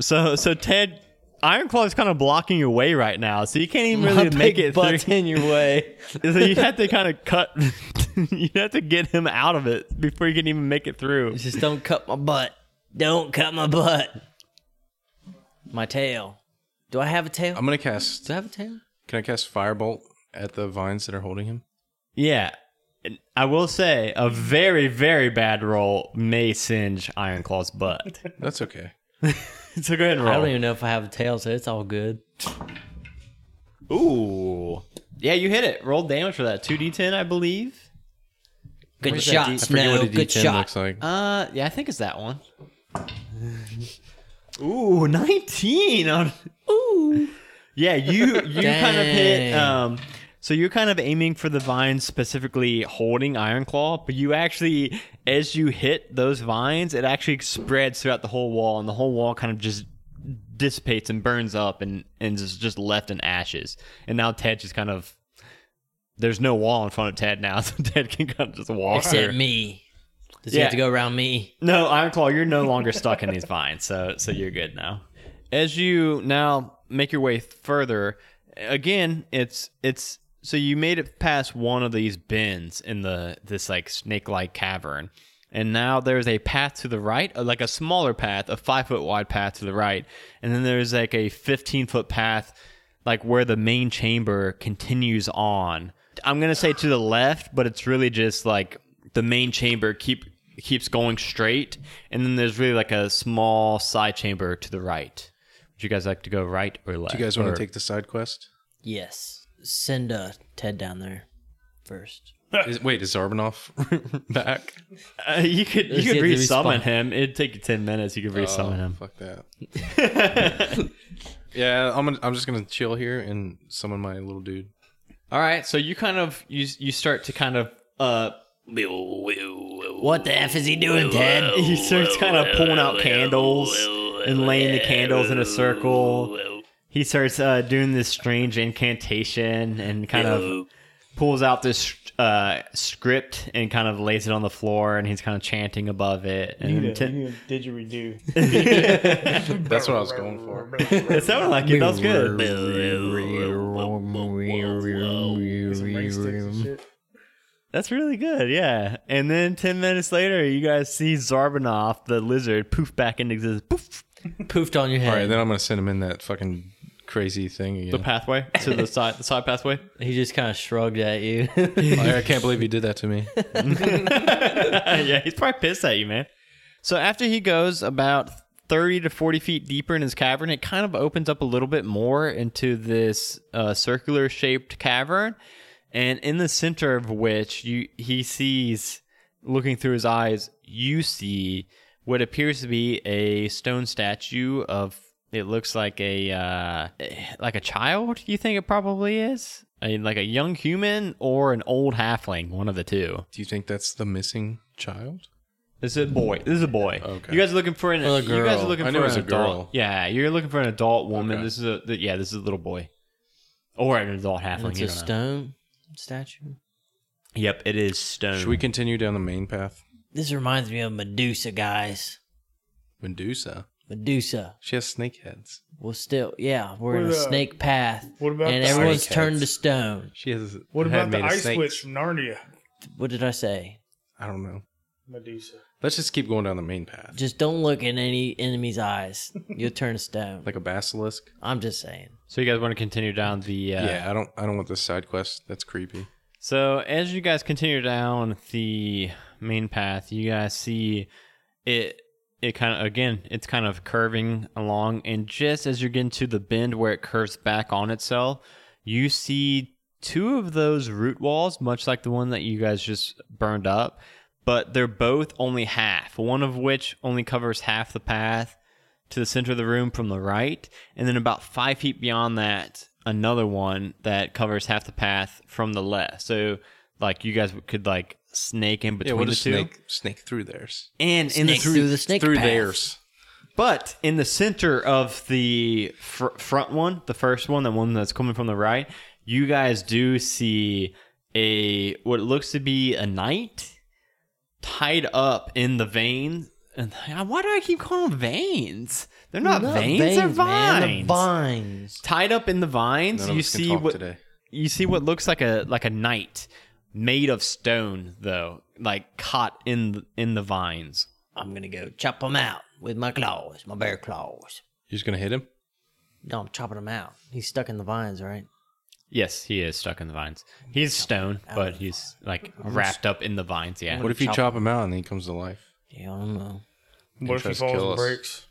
Speaker 1: so so Ted, Ironclaw is kind of blocking your way right now, so you can't even really make it
Speaker 6: butt's
Speaker 1: through.
Speaker 6: in your way.
Speaker 1: so you have to kind of cut. you have to get him out of it before you can even make it through.
Speaker 6: Just don't cut my butt.
Speaker 4: Don't cut my butt.
Speaker 6: My tail. Do I have a tail?
Speaker 5: I'm gonna cast.
Speaker 6: Do I have a tail?
Speaker 5: Can I cast firebolt at the vines that are holding him?
Speaker 1: Yeah. I will say a very, very bad roll may singe Ironclaw's butt.
Speaker 5: That's okay.
Speaker 1: so go ahead and
Speaker 6: I
Speaker 1: roll.
Speaker 6: don't even know if I have a tail, so it's all good.
Speaker 1: Ooh. Yeah, you hit it. Roll damage for that. 2d10, I believe.
Speaker 4: Good
Speaker 1: that
Speaker 4: shot,
Speaker 1: D- I
Speaker 5: Forget
Speaker 4: Snow.
Speaker 5: what a
Speaker 4: Good
Speaker 5: D10
Speaker 4: shot.
Speaker 5: looks like.
Speaker 1: Uh, yeah, I think it's that one. Ooh, 19 on Ooh. Yeah, you you kind of hit um so you're kind of aiming for the vines specifically holding Iron Claw, but you actually as you hit those vines, it actually spreads throughout the whole wall and the whole wall kind of just dissipates and burns up and and is just left in ashes. And now Ted just kind of there's no wall in front of Ted now, so Ted can kind of just walk.
Speaker 4: Except
Speaker 1: or-
Speaker 4: me. Does he
Speaker 1: Yeah.
Speaker 4: have to go around me?
Speaker 1: no, Ironclaw, you're no longer stuck in these vines, so so you're good now. As you now make your way further, again, it's it's so you made it past one of these bends in the this like snake-like cavern, and now there's a path to the right, uh, like a smaller path, a five foot wide path to the right, and then there's like a fifteen foot path, like where the main chamber continues on. I'm gonna say to the left, but it's really just like the main chamber keep keeps going straight, and then there's really like a small side chamber to the right. Would you guys like to go right or left?
Speaker 5: Do you guys want
Speaker 1: Or-
Speaker 5: to take the side quest?
Speaker 4: Yes. Send uh, Ted down there first.
Speaker 5: Is, wait, is Zarbanoff back?
Speaker 1: Uh, you could you
Speaker 6: Does
Speaker 1: could
Speaker 6: he have to
Speaker 1: resummon
Speaker 6: respawn?
Speaker 1: him. It'd take you ten minutes. You could resummon
Speaker 5: Oh,
Speaker 1: him.
Speaker 5: Fuck that. yeah, I'm gonna, I'm just gonna chill here and summon my little dude.
Speaker 1: All right, so you kind of you you start to kind of uh
Speaker 4: What the F is he doing, Ted?
Speaker 1: he starts kind of pulling out candles and laying the candles in a circle. He starts uh, doing this strange incantation and kind of pulls out this uh, script and kind of lays it on the floor and he's kind of chanting above it.
Speaker 2: You
Speaker 1: And
Speaker 2: need
Speaker 1: then
Speaker 2: a,
Speaker 1: Ted-
Speaker 2: you need a didgeridoo.
Speaker 5: That's what I was going for.
Speaker 1: it sounded like it. That was good.
Speaker 2: Some ring sticks and shit.
Speaker 1: That's really good, yeah. And then ten minutes later, you guys see Zarbanoff the lizard poof back into existence. Poof.
Speaker 6: Poofed on your
Speaker 5: All right,
Speaker 6: head.
Speaker 5: then I'm gonna send him in that fucking crazy thing
Speaker 1: The
Speaker 5: again.
Speaker 1: pathway to the side, the side pathway.
Speaker 6: he just kind of shrugged at you.
Speaker 5: Like, I can't believe you did that to me.
Speaker 1: yeah, he's probably pissed at you, man. So after he goes about 30 to 40 feet deeper in his cavern, it kind of opens up a little bit more into this uh, circular shaped cavern. And in the center of which you he sees, looking through his eyes, you see what appears to be a stone statue of it looks like a uh, like a child. You think it probably is, I mean, like a young human or an old halfling, one of the two.
Speaker 5: Do you think that's the missing child?
Speaker 1: This is a boy. This is a boy.
Speaker 5: Okay.
Speaker 1: You guys are looking for an
Speaker 5: Or a
Speaker 1: You guys are
Speaker 5: girl.
Speaker 1: looking
Speaker 5: I
Speaker 1: for
Speaker 5: knew it
Speaker 1: an
Speaker 5: was a
Speaker 1: adult.
Speaker 5: girl.
Speaker 1: Yeah, you're looking for an adult woman.
Speaker 5: Okay.
Speaker 1: This is a th- yeah. This is a little boy, or an adult halfling.
Speaker 6: it's
Speaker 1: you
Speaker 6: a
Speaker 1: don't know.
Speaker 6: stone statue.
Speaker 1: Yep, it is stone.
Speaker 5: Should we continue down the main path?
Speaker 4: This reminds me of Medusa, guys.
Speaker 5: Medusa.
Speaker 4: Medusa.
Speaker 5: She has snake heads.
Speaker 4: Well, still, yeah, we're in
Speaker 2: What
Speaker 4: a
Speaker 2: about-
Speaker 4: snake path.
Speaker 2: what about
Speaker 4: and
Speaker 2: the
Speaker 4: everyone's
Speaker 5: snake
Speaker 4: turned
Speaker 5: heads?
Speaker 4: to stone.
Speaker 5: She has.
Speaker 2: What
Speaker 5: a head
Speaker 2: about the
Speaker 5: made of
Speaker 2: ice
Speaker 5: snakes.
Speaker 2: witch from Narnia?
Speaker 4: What did I say?
Speaker 5: I don't know.
Speaker 2: Medusa.
Speaker 5: Let's just keep going down the main path,
Speaker 4: Just don't look in any enemy's eyes. You'll turn to stone.
Speaker 5: like a basilisk.
Speaker 4: I'm just saying.
Speaker 1: So you guys want to continue down the? Uh,
Speaker 5: yeah, I don't. I don't want this side quest. That's creepy.
Speaker 1: So as you guys continue down the main path, you guys see it. It kind of again, it's kind of curving along, and just as you're getting to the bend where it curves back on itself, you see two of those root walls, much like the one that you guys just burned up, but they're both only half. One of which only covers half the path, to the center of the room from the right, and then about five feet beyond that, another one that covers half the path from the left. So, like, you guys could like snake in between
Speaker 5: yeah, what
Speaker 1: the
Speaker 5: a
Speaker 1: two,
Speaker 5: snake snake through theirs.
Speaker 1: and in the
Speaker 4: Snake through the snake
Speaker 5: through
Speaker 4: path.
Speaker 5: theirs.
Speaker 1: but in the center of the fr- front one, the first one, the one that's coming from the right, you guys do see a what looks to be a knight tied up in the veins. And why do I keep calling them veins? They're not, veins, they're vines.
Speaker 6: man, they're vines.
Speaker 1: Tied up in the vines,
Speaker 5: None of
Speaker 1: you
Speaker 5: us can
Speaker 1: see
Speaker 5: talk
Speaker 1: what
Speaker 5: today.
Speaker 1: you see what looks like a like a knight made of stone though, like caught in the, in the vines.
Speaker 4: I'm going to go chop them out with my claws, my bear claws.
Speaker 5: You're just gonna hit him.
Speaker 4: No, I'm chopping them out. He's stuck in the vines, right?
Speaker 1: Yes, he is stuck in the vines. He's stone, but he's like wrapped up in the vines. Yeah.
Speaker 5: What if you chop him out and he comes to life?
Speaker 6: Yeah, I don't know.
Speaker 2: What if he
Speaker 5: tries to kill
Speaker 2: falls and
Speaker 5: us.
Speaker 2: breaks?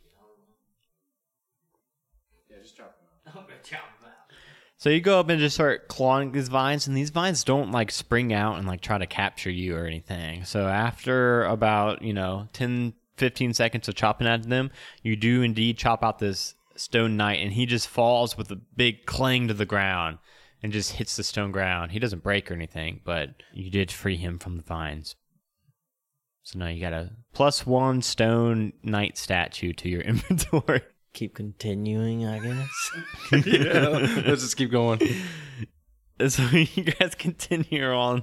Speaker 1: So you go up and just start clawing these vines, and these vines don't like spring out and like try to capture you or anything. So after about, you know, 10, 15 seconds of chopping at them, you do indeed chop out this stone knight, and he just falls with a big clang to the ground and just hits the stone ground. He doesn't break or anything, but you did free him from the vines. So now you got a plus one stone knight statue to your inventory.
Speaker 6: Keep continuing, I guess.
Speaker 5: yeah, let's just keep going.
Speaker 1: so you guys continue on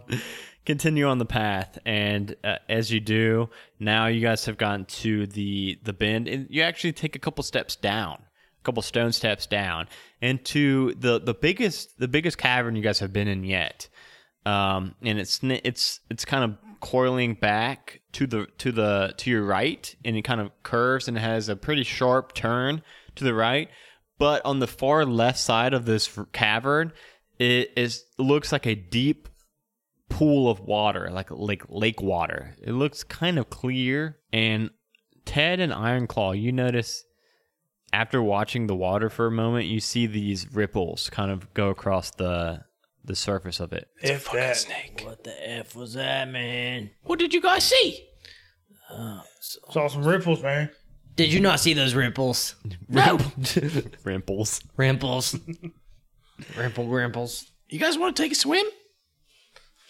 Speaker 1: continue on the path and uh, as you do now you guys have gotten to the the bend and you actually take a couple steps down a couple stone steps down into the the biggest the biggest cavern you guys have been in yet um and it's sni- it's it's kind of coiling back to the to the to your right and it kind of curves and has a pretty sharp turn to the right but on the far left side of this r- cavern it is looks like a deep pool of water like like lake water it looks kind of clear and ted and ironclaw you notice after watching the water for a moment you see these ripples kind of go across the the surface of it
Speaker 2: If that.
Speaker 4: What the F was that, man?
Speaker 3: What did you guys see?
Speaker 2: Saw some ripples, man.
Speaker 4: Did you not see those ripples?
Speaker 3: No.
Speaker 1: ripples
Speaker 4: Rimples. Rimple, rimples.
Speaker 3: You guys want to take a swim?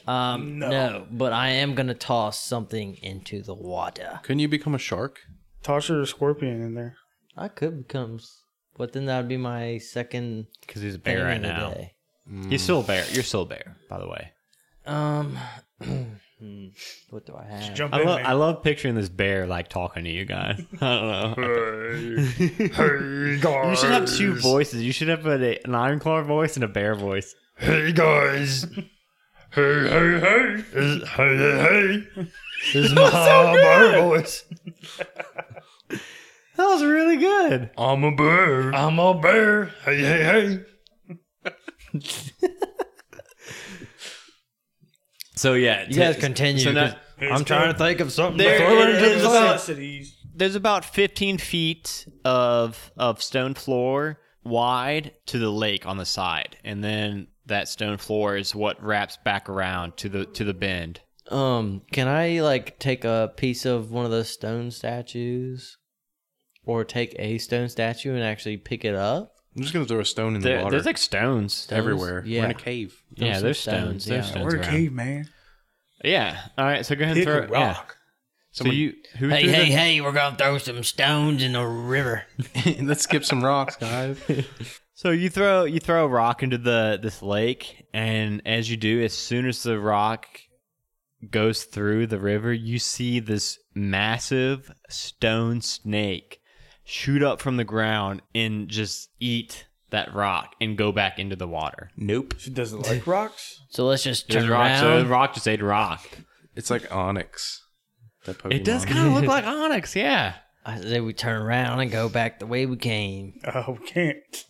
Speaker 6: Um, no. but I am gonna toss something into the water.
Speaker 5: Couldn't you become a shark?
Speaker 2: Toss your scorpion in there.
Speaker 6: I could become, s- but then that would be my second
Speaker 1: because he's a
Speaker 6: thing
Speaker 1: bear right
Speaker 6: of the
Speaker 1: now
Speaker 6: day.
Speaker 1: he's still a bear you're still a bear by the way
Speaker 6: Um, hmm, what do I have?
Speaker 2: Jump
Speaker 1: i
Speaker 2: in
Speaker 1: love
Speaker 2: there.
Speaker 1: i love picturing this bear like talking to you guys i don't know
Speaker 2: hey guys.
Speaker 1: you should have two voices you should have a, an ironclaw voice and a bear voice
Speaker 2: Hey guys. hey, hey, hey. This- hey, hey, hey. This is my bear voice.
Speaker 1: that was really good
Speaker 2: I'm a bear. I'm a bear. Hey, hey, hey.
Speaker 1: So yeah,
Speaker 6: You guys continue.
Speaker 1: So now-
Speaker 6: 'cause I'm trying to think of something. to
Speaker 1: There
Speaker 6: throw
Speaker 1: it
Speaker 6: into
Speaker 1: is.
Speaker 6: the water.
Speaker 2: Necessities.
Speaker 1: there's about 15 feet of of stone floor wide to the lake on the side, and then that stone floor is what wraps back around to the to the bend.
Speaker 6: Um, can I like take a piece of one of those stone statues, or take a stone statue and actually pick it up?
Speaker 5: I'm just gonna throw a stone in the
Speaker 1: There,
Speaker 5: water.
Speaker 1: there's like stones.
Speaker 5: everywhere. We're in
Speaker 6: yeah.
Speaker 5: a cave.
Speaker 1: yeah,
Speaker 6: some
Speaker 1: there's stones.
Speaker 6: stones,
Speaker 1: There's
Speaker 6: yeah.
Speaker 1: stones
Speaker 2: We're a
Speaker 1: around.
Speaker 2: caveman.
Speaker 1: Yeah. All right. So go ahead and
Speaker 2: Hit
Speaker 1: throw
Speaker 2: the
Speaker 1: it. Yeah.
Speaker 2: rock.
Speaker 1: So you who
Speaker 4: Hey,
Speaker 1: threw
Speaker 4: hey,
Speaker 1: the-
Speaker 4: hey, we're going to throw some stones in the river.
Speaker 5: Let's skip some rocks, guys.
Speaker 1: So you throw you throw a rock into the this lake, and as you do, as soon as the rock goes through the river, you see this massive stone snake shoot up from the ground and just eat that rock and go back into the water.
Speaker 5: Nope.
Speaker 2: She doesn't like rocks.
Speaker 4: So let's just
Speaker 1: There's
Speaker 4: turn
Speaker 1: rock, so the
Speaker 4: around.
Speaker 1: rock just ate a rock.
Speaker 5: It's like onyx. That Pokemon.
Speaker 1: It does kind of look like onyx, yeah.
Speaker 4: I say we turn around and go back the way we came.
Speaker 2: Oh, we can't.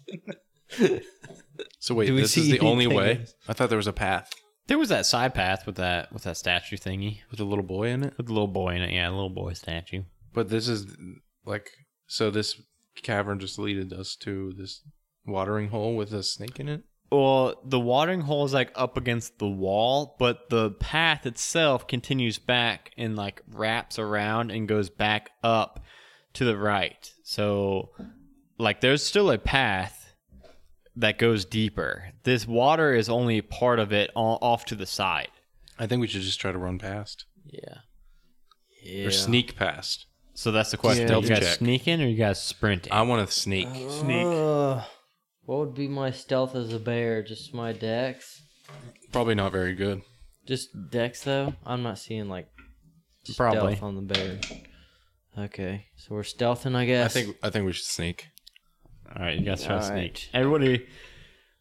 Speaker 5: So wait,
Speaker 6: we
Speaker 5: this
Speaker 6: see
Speaker 5: is the only
Speaker 6: anything
Speaker 5: way. I thought there was a path
Speaker 1: There was that side path with that with that statue thingy
Speaker 5: with a little boy in it,
Speaker 1: with the little boy in it. Yeah, a little boy statue.
Speaker 5: but this is like so. This cavern just leaded us to this watering hole with a snake in it.
Speaker 1: Well, the watering hole is like up against the wall, but the path itself continues back and like wraps around and goes back up to the right. So, like, there's still a path that goes deeper. This water is only part of it all off to the side.
Speaker 5: I think we should just try to run past
Speaker 1: Yeah.
Speaker 5: or sneak past.
Speaker 1: So that's the question.
Speaker 5: Stealth
Speaker 1: you guys
Speaker 5: check.
Speaker 1: sneaking or you guys sprinting?
Speaker 5: I want to sneak.
Speaker 2: Sneak.
Speaker 6: Uh, what would be my stealth as a bear? Just my dex.
Speaker 5: Probably not very good.
Speaker 6: Just dex though. I'm not seeing like stealth
Speaker 1: Probably.
Speaker 6: on the bear. Okay, so we're stealthing, I
Speaker 5: I
Speaker 6: guess.
Speaker 5: think I think we should sneak.
Speaker 1: all right, you guys try to
Speaker 6: All right.
Speaker 1: sneak. Everybody,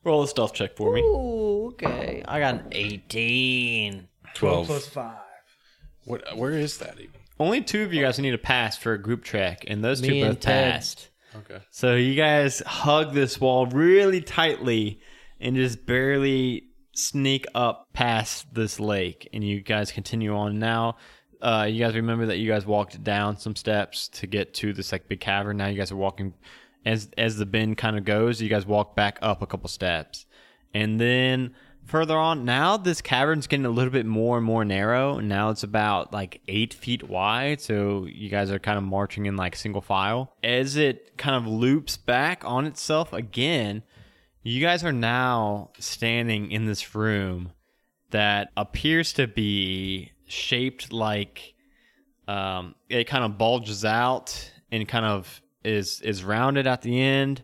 Speaker 1: roll a stealth check for me.
Speaker 6: Ooh, okay. I got an eight.
Speaker 4: 18.
Speaker 5: Twelve.
Speaker 2: Plus five.
Speaker 5: What? Where is that even?
Speaker 1: Only two of you guys need to pass for a group check, and those
Speaker 6: Me
Speaker 1: two
Speaker 6: and
Speaker 1: both
Speaker 6: Ted.
Speaker 1: passed.
Speaker 5: Okay.
Speaker 1: So you guys hug this wall really tightly and just barely sneak up past this lake. And you guys continue on now. Uh, you guys remember that you guys walked down some steps to get to this like big cavern. Now you guys are walking as as the bend kind of goes. You guys walk back up a couple steps, and then further on. Now this cavern's getting a little bit more and more narrow. Now it's about like eight feet wide. So you guys are kind of marching in like single file. As it kind of loops back on itself again, you guys are now standing in this room that appears to be shaped like um, it kind of bulges out and kind of is is rounded at the end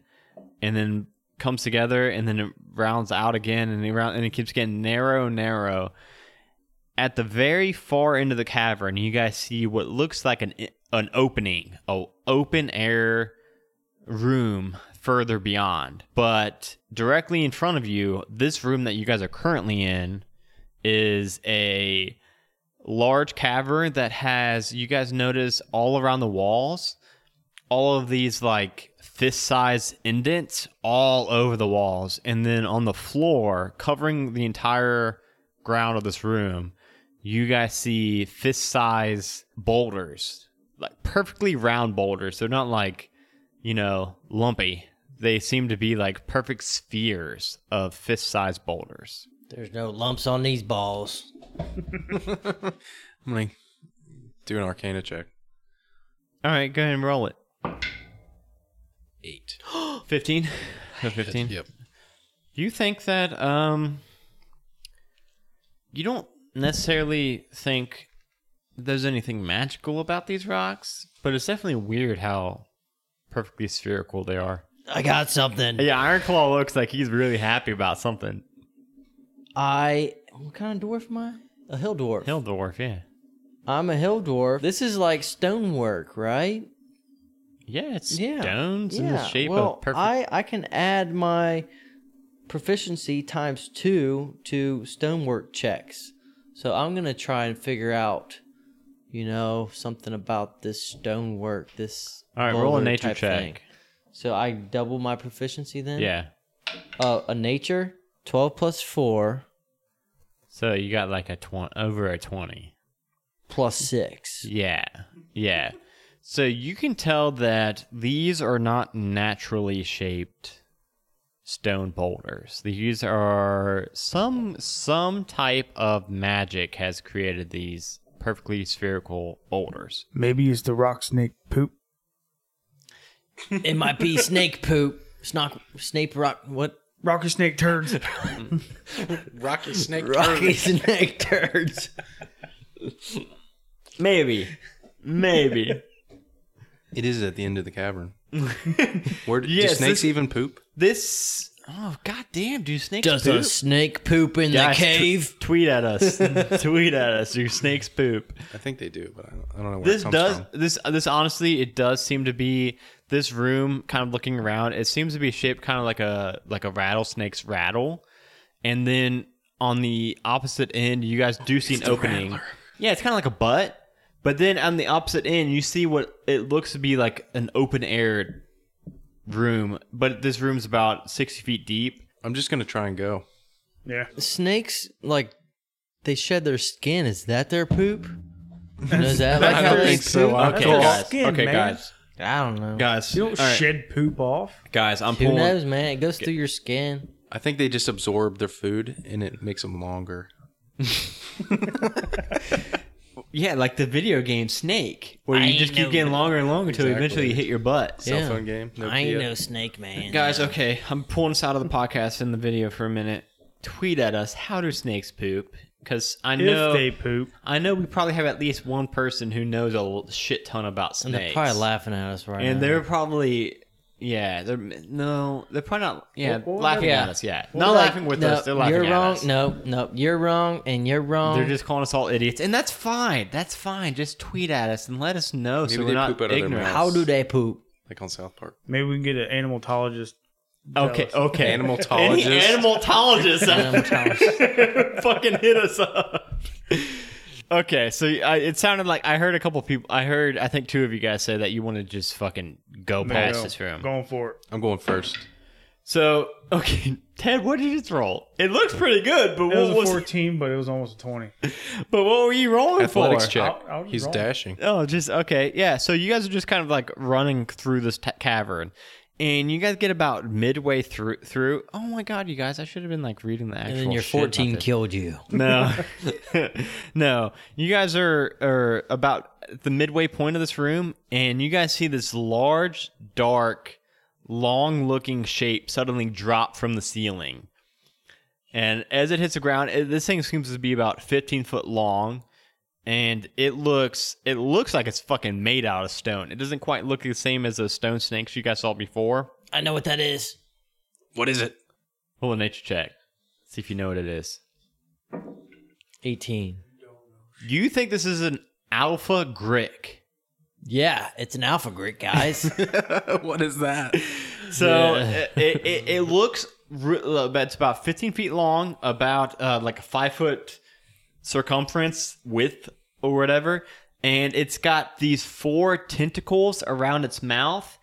Speaker 1: and then comes together and then it rounds out again and it round, and it keeps getting narrow narrow at the very far end of the cavern you guys see what looks like an an opening a open air room further beyond but directly in front of you this room that you guys are currently in is a large cavern that has you guys notice all around the walls all of these like fist sized indents all over the walls. And then on the floor, covering the entire ground of this room, you guys see fist sized boulders, like perfectly round boulders. They're not like, you know, lumpy. They seem to be like perfect spheres of fist sized boulders.
Speaker 4: There's no lumps on these balls.
Speaker 5: I'm gonna do an Arcana check.
Speaker 1: All right, go ahead and roll it.
Speaker 5: Eight.
Speaker 1: 15. So 15.
Speaker 5: Yep.
Speaker 1: You think that um you don't necessarily think there's anything magical about these rocks, but it's definitely weird how perfectly spherical they are.
Speaker 4: I got something.
Speaker 1: Yeah, Iron Claw looks like he's really happy about something.
Speaker 6: I what kind of dwarf am I? A hill dwarf.
Speaker 1: Hill dwarf, yeah.
Speaker 6: I'm a hill dwarf. This is like stonework, right?
Speaker 1: Yeah, it's
Speaker 6: Yeah.
Speaker 1: stones in the shape
Speaker 6: well,
Speaker 1: of perfect
Speaker 6: I, I can add my proficiency times two to stonework checks. So I'm gonna try and figure out, you know, something about this stonework. This
Speaker 1: All right, roll a
Speaker 6: boulder
Speaker 1: nature
Speaker 6: type
Speaker 1: check.
Speaker 6: thing. So I double my proficiency then.
Speaker 1: Yeah.
Speaker 6: Uh, a nature twelve plus four
Speaker 1: So you got like a 20 over a 20.
Speaker 6: plus six.
Speaker 1: Yeah. Yeah. So you can tell that these are not naturally shaped stone boulders. These are some some type of magic has created these perfectly spherical boulders.
Speaker 7: Maybe it's the rock snake poop.
Speaker 4: It might be snake poop.
Speaker 6: Snock, Snape, rock, what?
Speaker 7: Rocky snake turds.
Speaker 5: Rocky snake.
Speaker 6: Rocky snake turds.
Speaker 1: Maybe. Maybe.
Speaker 5: It is at the end of the cavern. Where do,
Speaker 1: Yes,
Speaker 5: do snakes
Speaker 1: this-
Speaker 5: even poop?
Speaker 1: this Oh goddamn, do snakes
Speaker 4: Does
Speaker 1: poop?
Speaker 4: a snake poop in
Speaker 1: Guys,
Speaker 4: the
Speaker 1: tw-
Speaker 4: cave?
Speaker 1: tweet at us. tweet at us. Do snakes poop?
Speaker 5: I think they do, but I don't, I don't know where
Speaker 1: this
Speaker 5: it comes
Speaker 1: does
Speaker 5: from.
Speaker 1: this uh, this honestly it does seem to be this room kind of looking around it seems to be shaped kind of like a like a rattlesnake's rattle and then on the opposite end you guys do see an opening yeah it's kind of like a butt but then on the opposite end you see what it looks to be like an open air room but this room's about 60 feet deep
Speaker 5: I'm just gonna try and go.
Speaker 6: snakes like they shed their skin. Is that their poop? Is that like
Speaker 7: I
Speaker 6: how
Speaker 7: don't
Speaker 6: they
Speaker 7: think so.
Speaker 6: poop?
Speaker 7: Okay,
Speaker 6: Cool.
Speaker 7: guys. Skin,
Speaker 1: okay
Speaker 7: man.
Speaker 1: guys
Speaker 6: I don't know.
Speaker 1: guys
Speaker 7: You don't
Speaker 1: all right,
Speaker 7: shed poop off.
Speaker 1: guys i'm
Speaker 6: Who
Speaker 1: pulling
Speaker 6: knows, man? It goes through your skin.
Speaker 5: I think they just absorb their food and it makes them longer.
Speaker 1: Yeah, like the video game Snake, where you
Speaker 4: I
Speaker 1: just keep
Speaker 4: know.
Speaker 1: getting longer and longer until
Speaker 5: Exactly.
Speaker 1: eventually you hit your butt.
Speaker 6: Yeah.
Speaker 5: Cell phone game. No
Speaker 4: I ain't
Speaker 5: deal.
Speaker 4: no snake man.
Speaker 1: Guys, okay, I'm pulling us out of the podcast in the video for a minute. Tweet at us how do snakes poop? Because I know
Speaker 7: If they poop.
Speaker 1: I know we probably have at least one person who knows a l- shit ton about snakes,
Speaker 6: And they're probably laughing at us right
Speaker 1: and
Speaker 6: now.
Speaker 1: they're probably yeah, they're no, they're probably not yeah
Speaker 7: What- what
Speaker 1: laughing
Speaker 6: they're-
Speaker 1: at us, yeah, not
Speaker 6: Like,
Speaker 1: laughing with
Speaker 6: no,
Speaker 1: us, they're laughing
Speaker 6: You're
Speaker 1: at
Speaker 6: wrong.
Speaker 1: us.
Speaker 6: No, no, you're wrong, and you're wrong.
Speaker 1: They're just calling us all idiots, and that's fine. That's fine. Just tweet at us and let us know so
Speaker 5: Maybe
Speaker 1: we're
Speaker 5: they
Speaker 1: not
Speaker 5: poop out of their
Speaker 1: ignorant.
Speaker 5: mouths.
Speaker 6: how do they poop?
Speaker 5: like on South Park.
Speaker 7: Maybe we can get an animalologist.
Speaker 1: Okay, okay.
Speaker 5: Animalologist.
Speaker 1: Any animalologist out- fucking hit us up. Okay, so I, it sounded like I heard a couple people. I heard, I think, two of you guys say that you want to just fucking go past this room.
Speaker 7: Going for it.
Speaker 5: I'm going first.
Speaker 1: So, okay, Ted, what did you roll? It looks pretty good, but
Speaker 7: It was
Speaker 1: what
Speaker 7: a
Speaker 1: was,
Speaker 7: 14, but it was almost a 20.
Speaker 1: but what were you rolling
Speaker 5: Athletics
Speaker 1: for?
Speaker 5: check.
Speaker 7: I'll- I'll
Speaker 5: He's
Speaker 7: roll.
Speaker 5: dashing.
Speaker 1: Oh, just okay. Yeah. So you guys are just kind of like running through this ta cavern, and you guys get about midway through. Through. Oh my god, you guys! I should have been like reading the actual.
Speaker 4: And then your
Speaker 1: shit about
Speaker 4: 14
Speaker 1: this.
Speaker 4: killed you.
Speaker 1: No, no. You guys are are about at the midway point of this room, and you guys see this large, dark, long-looking shape suddenly drop from the ceiling. And as it hits the ground, it, this thing seems to be about 15 foot long, and it looks it looks like it's fucking made out of stone. It doesn't quite look the same as those stone snakes you guys saw before.
Speaker 4: I know what that is.
Speaker 5: What is it?
Speaker 1: Roll a nature check. See if you know what it is.
Speaker 6: 18.
Speaker 1: You think this is an alpha grick?
Speaker 4: Yeah, it's an alpha grit, guys.
Speaker 5: what is that?
Speaker 1: So it, it, it, it looks re- uh, it's about 15 feet long, about uh, like a five foot circumference width or whatever, and it's got these four tentacles around its mouth,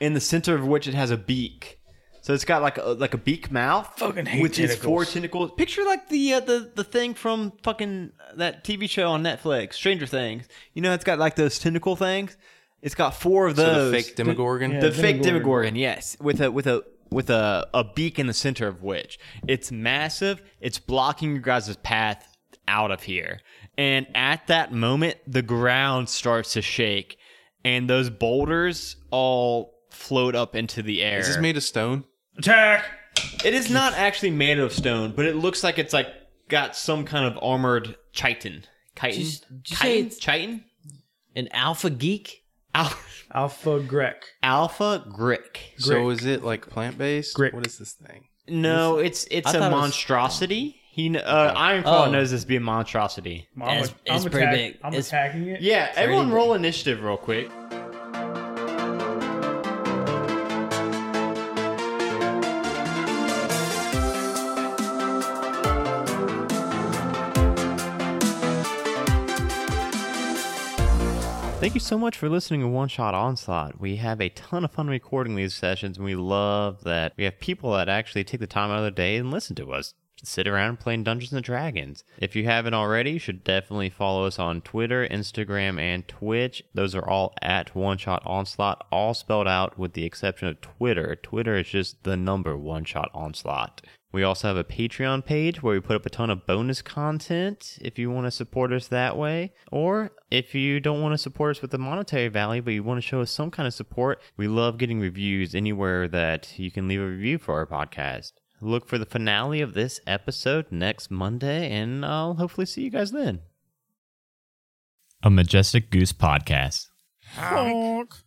Speaker 1: in the center of which it has a beak. So it's got like a, like a beak mouth,
Speaker 7: Fucking hate
Speaker 1: with these four
Speaker 7: tentacles.
Speaker 1: tentacles. Picture like the uh, the the thing from fucking uh, that TV show on Netflix, Stranger Things. You know, it's got like those tentacle things. It's got four of those.
Speaker 5: So the fake Demogorgon.
Speaker 1: The fake Demogorgon, yes, with a with a with a, a beak in the center of which it's massive. It's blocking your guys' path out of here. And at that moment, the ground starts to shake, and those boulders all float up into the air.
Speaker 5: Is this made of stone?
Speaker 7: Attack!
Speaker 1: it is not actually made of stone, but it looks like it's like got some kind of armored chitin. Chitin.
Speaker 6: Just- just say
Speaker 1: chitin.
Speaker 6: it's-
Speaker 1: Chitin?
Speaker 6: An alpha geek?
Speaker 1: Al-
Speaker 7: Alpha Grek.
Speaker 1: Alpha Grick.
Speaker 5: So is it like plant based?
Speaker 7: Grick.
Speaker 5: What is this thing?
Speaker 1: No, it's it's
Speaker 6: I
Speaker 1: a
Speaker 6: thought it was-
Speaker 1: monstrosity. He kn- uh, Ironclaw
Speaker 6: Oh.
Speaker 1: knows this being monstrosity.
Speaker 7: I'm,
Speaker 4: It's-
Speaker 7: I'm
Speaker 4: it's pretty
Speaker 7: attack-
Speaker 4: big.
Speaker 7: I'm
Speaker 4: It's-
Speaker 7: attacking it.
Speaker 1: Yeah, everyone roll initiative real quick. Thank you so much for listening to One Shot Onslaught. We have a ton of fun recording these sessions, and we love that we have people that actually take the time out of their day and listen to us sit around playing Dungeons and Dragons. If you haven't already, you should definitely follow us on Twitter, Instagram, and Twitch. Those are all at One Shot Onslaught, all spelled out with the exception of Twitter. Twitter is just the number One Shot Onslaught. We also have a Patreon page where we put up a ton of bonus content if you want to support us that way. Or if you don't want to support us with the monetary value, but you want to show us some kind of support, we love getting reviews anywhere that you can leave a review for our podcast. Look for the finale of this episode next Monday, and I'll hopefully see you guys then. A Majestic Goose Podcast.
Speaker 8: Honk.